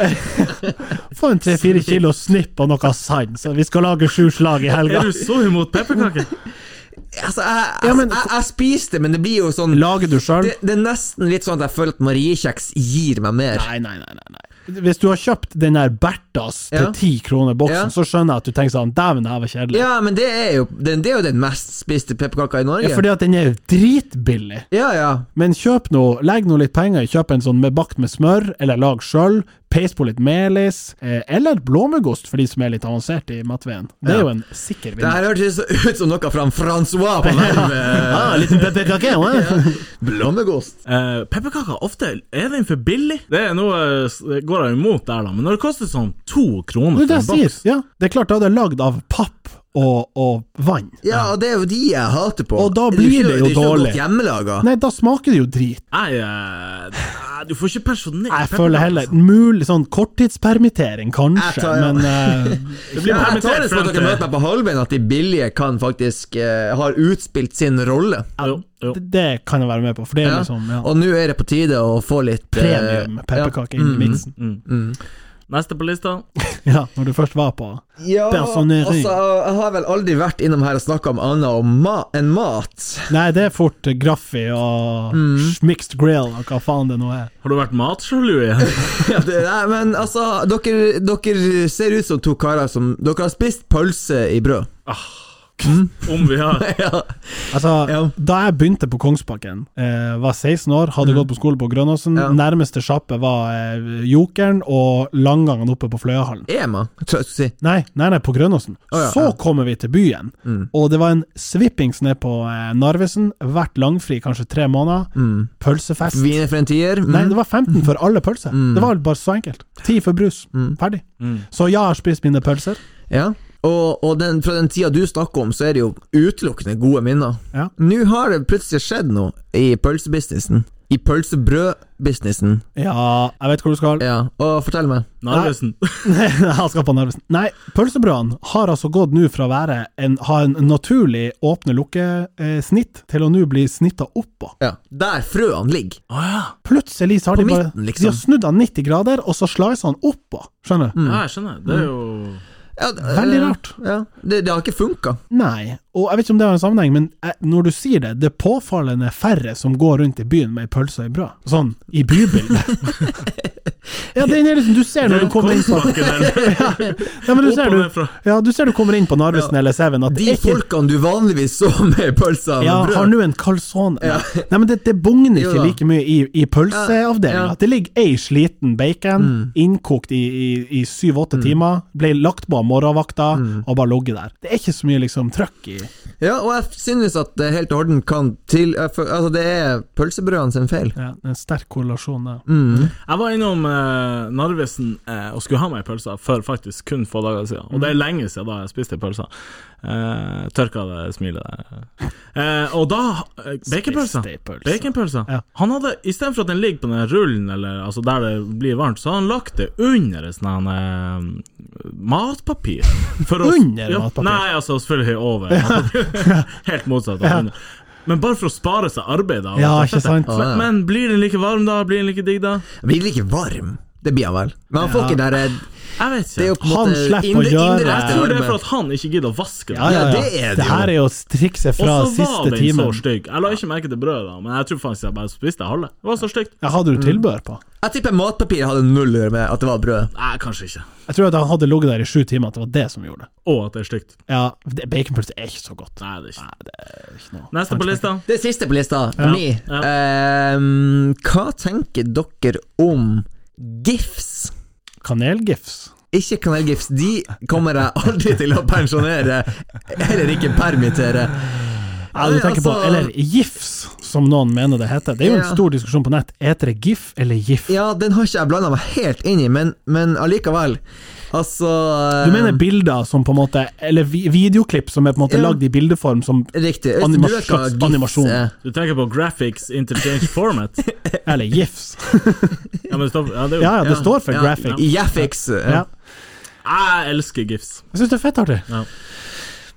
S2: Få en tre-fire kilo snipp og noe sand, så vi skal lage sju slag i helga.
S3: Er du så imot pepperkaker?
S4: Altså, jeg, jeg,
S2: Ja, men-
S4: jeg, jeg spiste, men det blir jo sånn
S2: Lager du sjøl?
S4: det, det er nesten litt sånn at jeg føler at Mariekjeks gir meg mer.
S2: Nei, nei, nei, nei. nei. Hvis du har kjøpt den der Berthas til
S4: Ja.
S2: ti kroner
S4: Ja.
S2: boksen, så skjønner jeg at du tenker sånn Dæven, det her var kjedelig.
S4: Ja, men det er jo den, det er jo den mest spiste pepperkaka i Norge.
S2: Ja, fordi at den er dritbillig.
S4: ja, ja.
S2: Men kjøp nå, legg nå litt penger i, kjøp en sånn med bakt med smør, eller lag sjøl, peis på litt melis, eh, eller blåmuggost for de som er litt avanserte i matveien. Det er
S4: Ja.
S2: jo en sikker
S4: Det
S2: vinner.
S4: her hørtes ut som noe fra en Francois på verv.
S2: Ah, <laughs> liten pepperkake, hva?
S4: Blommegost.
S3: Eh, pepperkaker ofte er den for billig. Det er noe eh, s- det går jeg imot der, da. Men når det koster sånn to
S2: Det er
S3: kroner for
S2: det
S3: en
S2: jeg sier.
S3: boks
S2: Ja, det er klart, da er det lagd av papp og, og vann.
S4: Ja, og det er jo de jeg hater på.
S2: Og da
S4: er
S2: blir
S4: ikke-
S2: det jo
S4: er ikke noe
S2: dårlig.
S4: godt hjemmelaga.
S2: Nei, da smaker det jo drit.
S3: Nei, eh, nei, du får ikke pensjonert
S2: Jeg føler heller mulig sånn korttidspermittering, kanskje,
S4: altså. Jeg tar, ja.
S2: men
S4: <laughs>
S2: eh,
S3: Det blir
S4: Ja, jeg tar
S3: permittert
S4: det som at
S3: frem
S4: dere møter
S3: til
S4: meg på halvveien, at de billige kan faktisk eh, har utspilt sin rolle.
S3: jo, jo.
S2: det, det kan jeg være med på, for det er
S4: Ja.
S2: liksom ja,
S4: Og nå er det på tide å få litt eh,
S2: premium
S4: Mm,
S2: pepperkake inn i miksen.
S3: Neste på lista.
S2: Ja, når du først var på
S4: Ja, ja altså,
S2: Personering.
S4: jeg har vel aldri vært innom her og snakka om annet om ma enn mat.
S2: Nei, det er fort graffi og
S4: Mm.
S2: mixed grill og hva faen det nå er.
S3: Har du vært matsjalu igjen? <laughs>
S4: Ja, <laughs> det, nei, men altså, dere, dere ser ut som to karer som Dere har spist pølse i brød.
S3: Om vi har
S4: <laughs> ja.
S2: Altså,
S4: Ja.
S2: Da jeg begynte på Kongsbakken, eh, var 16 år, hadde gått på skole på Grønåsen.
S4: Mm. Ja.
S2: Nærmeste sjappe var eh, Jokeren og Langangen oppe på Fløyahallen.
S4: Ema, tror jeg jeg skulle si.
S2: Nei, nei, nei, på Grønåsen.
S4: Å, ja, Mm.
S2: så
S4: ja.
S2: kommer vi til byen, og det var en svippings ned på eh, Narvesen. Vært langfri kanskje tre måneder. Pølsefest.
S4: Wiener for en tier. Mm. Mm.
S2: Nei, det var 15 for alle pølser. Det var bare så enkelt. 10 for brus. Ferdig. Så ja, jeg har spist mine pølser.
S4: Ja. Og, og den, fra den tida du snakker om, så er det jo utelukkende gode minner.
S2: Ja.
S4: Nå har det plutselig skjedd noe i pølsebusinessen. I pølsebrødbusinessen.
S2: Ja, jeg vet hvor du skal. <laughs>
S4: Ja, og fortell meg.
S3: Narvesen. <clears throat>
S2: Han skal på Narvesen. Nei, pølsebrødene har altså gått nå fra å være en, ha en naturlig åpne-lukke-snitt, til å nå bli snitta oppå.
S4: Ja. Der frøene ligger.
S3: Å ja.
S2: Plutselig så har
S4: På
S2: de bare
S4: midten, liksom. Mm.
S2: De har snudd han 90 grader, og så slicer han oppå. Skjønner du?
S3: ja, jeg skjønner. Det er jo
S4: Ja, d- eh,
S2: Veldig rart.
S4: Ja, det, det har ikke funka.
S2: Nei, og jeg vet ikke om det har en sammenheng, men eh, når du sier det, det er påfallende færre som går rundt i byen med ei pølse og ei brød. Sånn, i
S4: <laughs>
S2: bybildet. ja, den er liksom Du ser når du kommer inn på
S3: Kongsbakken eller
S2: <laughs> Ja, men du
S3: opp
S2: ser
S3: og
S2: du,
S3: ned fra.
S2: ja, du, ser du kommer inn på Narvesen eller Seven at
S4: De
S2: det er ikke
S4: folkene du vanligvis så <laughs> med pølser og
S2: ja,
S4: brød
S2: har nå en calzone Nei, Nei, men det, det bugner
S4: Jo
S2: ikke
S4: da.
S2: like mye i, i pølseavdelinga.
S4: Ja, ja.
S2: Det ligger ei sliten bacon, innkokt i, i, i syv-åtte timer, ble lagt på av morgenvakta, og bare ligget der. Det er ikke så mye liksom trøkk i
S4: Ja, og jeg synes at det helt og orden kan til jeg fø- Altså, det er pølsebrødene sin feil.
S2: ja, det er En sterk korrelasjon der.
S3: Jeg var innom eh, Narvesen eh, og skulle ha meg pølser for faktisk kun få dager siden. Og
S2: Mm.
S3: det er lenge siden da jeg spiste pølser. Eh, tørka det smilet der. Eh, og da eh, Baconpølser.
S2: Spiste ei pølse.
S3: Baconpølser.
S2: Ja.
S3: Han hadde, istedenfor at den ligger på den rullen, eller altså der det blir varmt, så har han lagt det under et sånt her, eh, matpapir.
S2: <laughs>
S3: For å-
S2: Under matpapir?
S3: Nei, altså selvfølgelig over. <laughs> Helt motsatt. av under. Men bare for å spare seg arbeid. da, og
S2: Ja,
S3: alt
S2: ikke
S3: dette.
S2: sant?
S4: Ja, ja.
S3: Men blir den like varm da? Blir den like digg da?
S4: Jeg blir ikke varm. Det blir han vel. Men han får ikke den derre
S3: Jeg vet ikke.
S4: Det er jo på en
S2: Han
S4: måte
S2: slipper å
S4: indre-
S2: gjøre-
S4: indre
S3: jeg tror det er
S4: varme.
S3: for at han ikke gidder å vaske det.
S2: Ja, ja, ja.
S4: det er det
S2: det her er jo trikset
S3: Og
S2: fra
S3: så var
S2: siste
S3: den så
S2: timen.
S3: stygg. Jeg la ikke merke til brødet, da, men jeg tror faktisk jeg bare spiste halve. Det var så stygt.
S2: Ja, hadde du tilbør på?
S4: Jeg tipper matpapir hadde null å gjøre med at det var brød.
S3: Nei, kanskje ikke.
S2: Jeg tror at han hadde ligget der i sju timer, at det var det som gjorde det.
S3: Og at det er stygt.
S2: Ja, det- Baconpølse er ikke så godt.
S3: Nei, det er ikke.
S2: Det er ikke noe.
S3: Neste på lista.
S4: Det siste på lista, ni.
S3: ja.
S4: Ehm, hva tenker dere om gifs?
S2: Kanelgifs?
S4: Ikke kanelgifs. De kommer jeg aldri til å pensjonere, eller ikke permittere.
S2: Ja, du
S4: Nei,
S2: tenker på,
S4: altså-
S2: eller gifs, som noen mener det heter. Det er jo en
S4: Ja.
S2: stor diskusjon på nett. Heter det gif eller gif?
S4: Ja, den har ikke jeg blanda meg helt inn i, men, men allikevel. Altså
S2: Du mener bilder som på en måte Eller vi- videoklipp som er på en måte
S4: Ja.
S2: lagd i bildeform som
S4: eh, Riktig.
S2: anima-
S4: du vet hva
S2: slags
S4: GIFs
S2: animasjon.
S4: er.
S3: Du tenker på graphics interchange format.
S2: Eller gifs.
S3: Ja, men det står- ja, det er jo,
S2: Ja, ja, det
S4: Ja.
S2: står for
S4: Ja.
S2: graphic.
S4: Jaffix.
S2: Ja.
S3: Jeg elsker gifs.
S2: Jeg syns det er fett artig.
S3: Ja.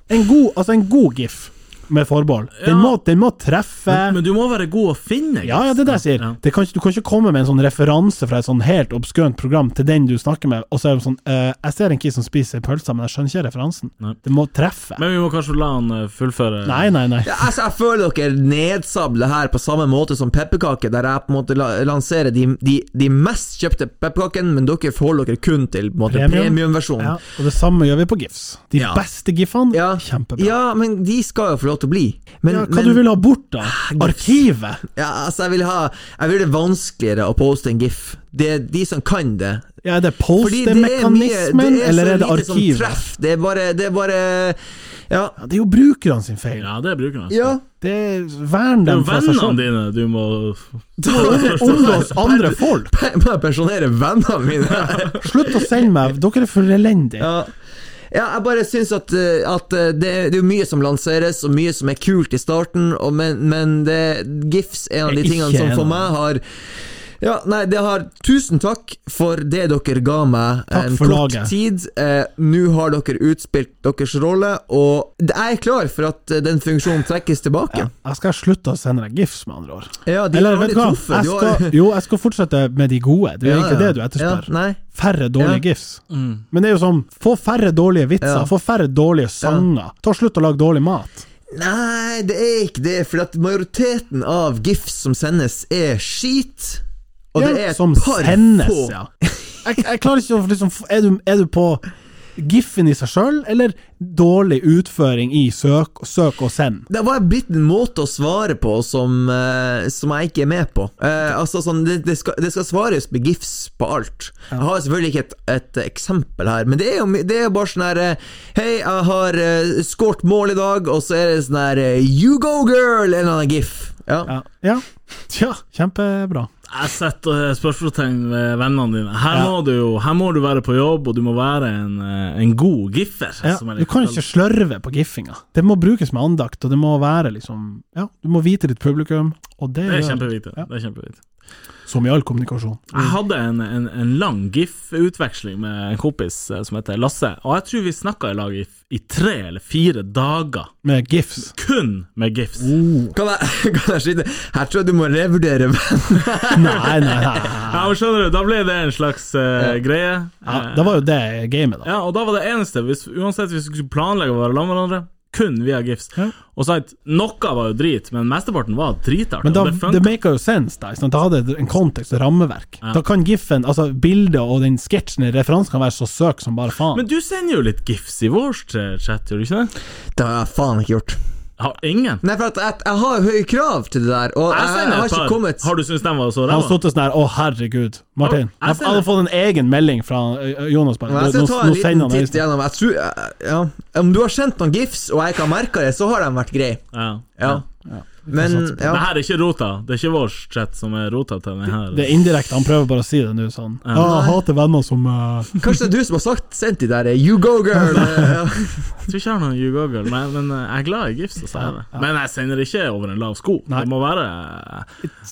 S2: En god, altså en god gif, med forbehold. Den,
S3: Ja.
S2: må, den må treffe
S3: Men du må være god å finne.
S2: Eh. Ja, ja, det er det jeg sier.
S3: Ja.
S2: Det kan, ikke- du kan ikke komme med en sånn referanse fra et sånn helt obskønt program til den du snakker med, og så er det sånn eh, Jeg ser en kis som spiser pølser, men jeg skjønner ikke referansen.
S3: Nei.
S2: Det må treffe.
S3: Men vi må kanskje la han eh, fullføre.
S2: nei, nei, nei.
S4: Ja, altså, jeg føler dere nedsabler her på samme måte som pepperkaker, der jeg på en måte la lanserer de, de, de mest kjøpte pepperkakene, men dere forholder dere kun til på en måte,
S2: Premium.
S4: premiumversjonen.
S2: Ja, og det samme gjør vi på gifs. De
S4: Ja.
S2: beste gifene,
S4: Ja.
S2: kjempebra. Ja,
S4: Ja, men de skal jo få lov til å bli. Men,
S2: hva
S4: men Ah,
S2: du vil ha bort, da? Arkivet?
S4: ja, altså, jeg vil ha Jeg vil det vanskeligere å poste en gif. Det er de som kan det.
S2: Ja, er det
S4: Fordi det er mye
S2: postemekanismen, eller er det
S4: så lite som
S2: arkivet?
S4: treff. Det er bare, det er bare Ja.
S2: Ja, det er jo brukerne sin feil.
S3: Ja, det bruker han.
S4: ja. <laughs>
S2: Det er Vern
S3: Det er jo
S2: dem fra seg
S3: vennene
S2: selv.
S3: dine du må
S2: Omgås andre folk!
S4: Jeg <laughs> må pensjonere vennene mine.
S2: Slutt å sende
S4: <laughs>
S2: meg Dere er for elendige.
S4: Ja. ja, jeg bare syns at, eh, at eh, det, det er jo mye som lanseres, og mye som er kult i starten, og men, men det, GIFs er en av de
S2: Ikke
S4: tingene som for
S2: en
S4: meg har ja, nei, det har Tusen takk for det dere ga meg
S2: Takk
S4: en
S2: for
S4: kort
S2: laget.
S4: tid. Eh, Nå har dere utspilt deres rolle, og jeg er klar for at eh, den funksjonen trekkes tilbake.
S2: Jeg skal slutte å sende deg gifs, med andre ord.
S4: Ja, de
S2: Eller
S4: har
S2: vet
S4: aldri
S2: du hva,
S4: truffet.
S2: jeg
S4: Du har-
S2: skal, jo, jeg skal fortsette med de gode. Det er
S4: <laughs> Ja,
S2: egentlig
S4: ja.
S2: det du etterspør.
S4: Ja, nei.
S2: Færre dårlige gifs.
S3: Mm.
S2: Men det er jo sånn, få færre dårlige vitser,
S4: Ja.
S2: få færre dårlige sanger. Ta slutt å lage dårlig mat.
S4: Nei, det er ikke det, for at majoriteten av gifs som sendes, er skit. Og det
S2: Ja,
S4: er et
S2: som
S4: par
S2: sendes,
S4: få <laughs>
S2: ja. Jeg, jeg klarer ikke å liksom, er, du, er du på giffen i seg sjøl, eller dårlig utføring i søk, søk og send?
S4: Det var blitt en måte å svare på som, eh, som jeg ikke er med på. Eh, altså sånn, det, det, skal, det skal svares med gifs på alt. Jeg har selvfølgelig ikke et, et eksempel her, men det er jo, my- det er jo bare sånn her eh, Hei, jeg har uh, skåret mål i dag, og så er det sånn her eh, You go girl! En eller annen gif. Ja.
S2: Ja. ja. Tja, kjempebra.
S3: Jeg setter eh, spørsmålstegn ved vennene dine. Her, må du jo, her må du være på jobb, og du må være en, eh, en god giffer.
S2: Ja,
S3: som jeg
S2: du
S3: liker
S2: kan
S3: å kalle
S2: ikke slørve på giffinga. Det må brukes med andakt, og det må være liksom Ja, du må vite ditt publikum, og det,
S3: det. det er
S2: gjør-
S3: kjempeviktig.
S2: Ja.
S3: Det er kjempeviktig.
S2: Som i all kommunikasjon.
S3: Jeg hadde en, en, en lang GIF-utveksling med en kompis eh, som heter Lasse, og jeg tror vi snakka i lag i, f- i tre eller fire dager,
S2: Med gifs.
S3: kun med GIFs.
S4: Kan jeg, <laughs> kan jeg skyte Her tror jeg du må revurdere
S2: Nei, nei,
S4: <laughs>
S2: nei.
S3: Ja, men skjønner du, Da ble det en slags eh, greie.
S2: Ja,
S3: Eh,
S2: det var jo det gamet, da.
S3: Ja, og da var det eneste, hvis, uansett hvis vi skulle planlegge å være sammen med hverandre, kun via GIFs.
S2: Ja.
S3: Og sagt, noe var jo drit, men mesteparten var dritartig.
S2: Men da,
S3: og det
S2: det
S3: funket.
S2: maker jo sense, da. ikke sant? Da hadde det en kontekst og rammeverk.
S3: Ja.
S2: Da kan giffen, altså bildet og den sketsjen i referansen kan være så søk som bare faen.
S3: men du sender jo litt GIFs i vår ch- chat, gjør du ikke det?
S4: Det har jeg faen ikke gjort.
S3: Har ingen.
S4: Nei, for at jeg, jeg har høye krav til det der, og jeg,
S3: Jeg
S4: jeg,
S3: sender
S4: har
S3: et
S4: ikke
S3: par.
S4: kommet
S3: Har du syntes den var så
S2: Han
S3: ræva?
S2: stod sånn her, å herregud, Martin.
S3: Ja,
S2: Jeg
S3: jeg ser
S2: hadde
S3: det.
S2: fått en egen melding fra ø, ø, Jonas bare.
S4: Men jeg
S2: Nå,
S4: skal ta en
S2: nå sender
S4: liten
S2: han
S4: titt
S2: øyne.
S4: gjennom jeg tror, ja. Om du har sendt noen gifs og jeg ikke har merka det, så har de vært greie.
S3: Ja.
S4: Ja. Men ja.
S3: Det her er ikke rota. Det er ikke vår chat som er rota til den her.
S2: Det er indirekte, han prøver bare å si det nå, sånn. Ja, jeg hater venner som ø,
S4: Kanskje det er du som har sagt sendt de der eh, You go, girl! eh, ja.
S3: Jeg tror ikke jeg har noen jugogel, men, men eh, jeg er glad i GIFs. Så sier jeg det. Men jeg sender ikke over en lav sko.
S2: Nei.
S3: Det må være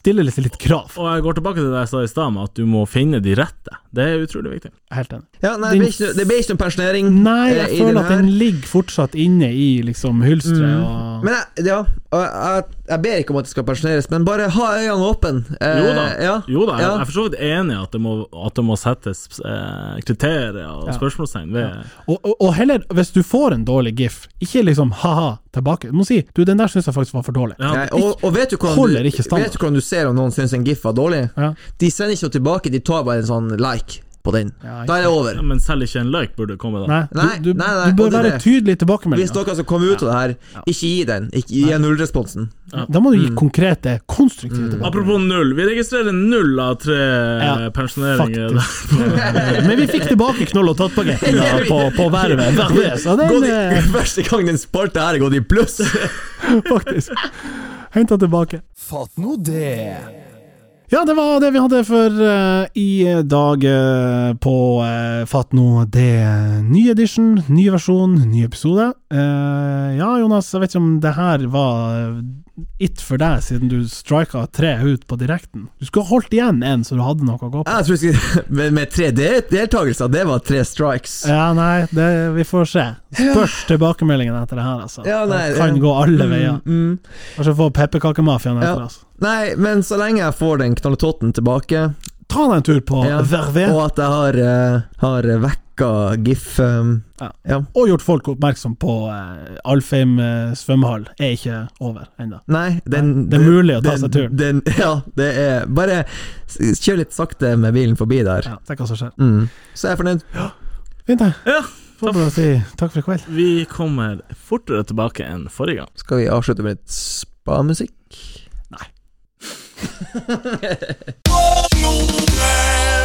S2: stiller litt, litt krav.
S3: Og jeg går tilbake til det jeg sa i stad, med at du må finne de rette. Det er utrolig viktig.
S2: Helt enig.
S4: Ja, nei, det ble ikke noe- det ble ikke noen pensjonering.
S2: Nei,
S4: eh, i
S2: jeg føler at
S4: her. Mm.
S2: den ligger fortsatt inne i liksom hylsteret og
S4: Men jeg, ja, og jeg, jeg ber ikke om at det skal pensjoneres, men bare ha øynene åpne. Eh,
S3: Jo da,
S4: Ja.
S3: jo da jeg,
S4: ja.
S3: jeg er for så vidt enig i at, det må- at det må settes eh, kriterier og
S2: Ja.
S3: spørsmålstegn ved
S2: Og, og, og heller, hvis du får en dårlig gif, ikke liksom ha-ha tilbake. Du må si du, den der syns jeg faktisk var for dårlig.
S3: ja.
S4: Nei, og, og vet du
S2: Holder
S4: hvordan du,
S2: ikke standard.
S4: vet du hvordan du ser om noen syns en gif var dårlig?
S2: Ja.
S4: De sender ikke noe tilbake, de tar bare en sånn like på den.
S2: Ja,
S4: Da er det over.
S3: Ja, Men selv ikke en like burde komme, da.
S2: Nei, du,
S4: Nei,
S2: du,
S4: nei, nei,
S2: du bør
S4: og det er
S2: være
S4: det.
S2: tydelig i
S4: Hvis
S2: tilbakemeldinga.
S4: dere som kommer ut av det her, ikke gi den. Ikke gi nullresponsen.
S2: Da må du
S4: Mm.
S2: gi konkrete, konstruktive tilbakemeldinger.
S3: Apropos null, vi registrerer null av tre
S2: Ja,
S3: pensjoneringer.
S2: Men vi fikk tilbake knoll- og
S4: <laughs>
S2: tattpaketten da, på, på vervet. Så det
S4: Gå
S2: er eh,
S4: de- <laughs> Første gang den spalta her er gått i pluss!
S2: <laughs> faktisk Henta tilbake.
S5: Fatt nå det.
S2: Ja, det var det vi hadde for eh, i dag eh, på uh, Fatt nå det. eh, Ny edition, ny versjon, ny episode. Eh, ja, Jonas, jeg vet ikke om det her var eh, it for deg, siden du strika tre ut på direkten. Du skulle ha holdt igjen en, så du hadde noe å gå på.
S4: Jeg tror jeg skulle- med, med tre de- deltakelser, det var tre strikes.
S2: Ja, nei, det, vi får se. Spørs tilbakemeldingen etter det her, altså.
S4: Ja, nei,
S2: det kan
S4: ja.
S2: gå alle veier.
S4: Mm.
S2: Kanskje få pepperkakemafiaen
S4: Ja.
S2: etter altså. oss.
S4: Nei, men så lenge jeg får den knalltotten tilbake,
S2: Ta deg en tur på
S4: Ja.
S2: Vervet,
S4: og at jeg har, eh, har vekka GIF um,
S2: Ja.
S4: ja.
S2: og gjort folk oppmerksom på eh, Alfheim eh, svømmehall er ikke over ennå.
S4: Nei, den
S2: Nei, det er mulig å ta seg
S4: den-
S2: turen.
S4: Den, <laughs> ja, det er Bare s- kjør litt sakte med bilen forbi der,
S2: Ja, se hva som skjer.
S4: mm. så er jeg fornøyd.
S2: Fint, det.
S3: Ja,
S2: Får bare si takk for i kveld.
S3: vi kommer fortere tilbake enn forrige gang.
S4: Skal vi avslutte med litt spamusikk?
S5: Fatt nå det.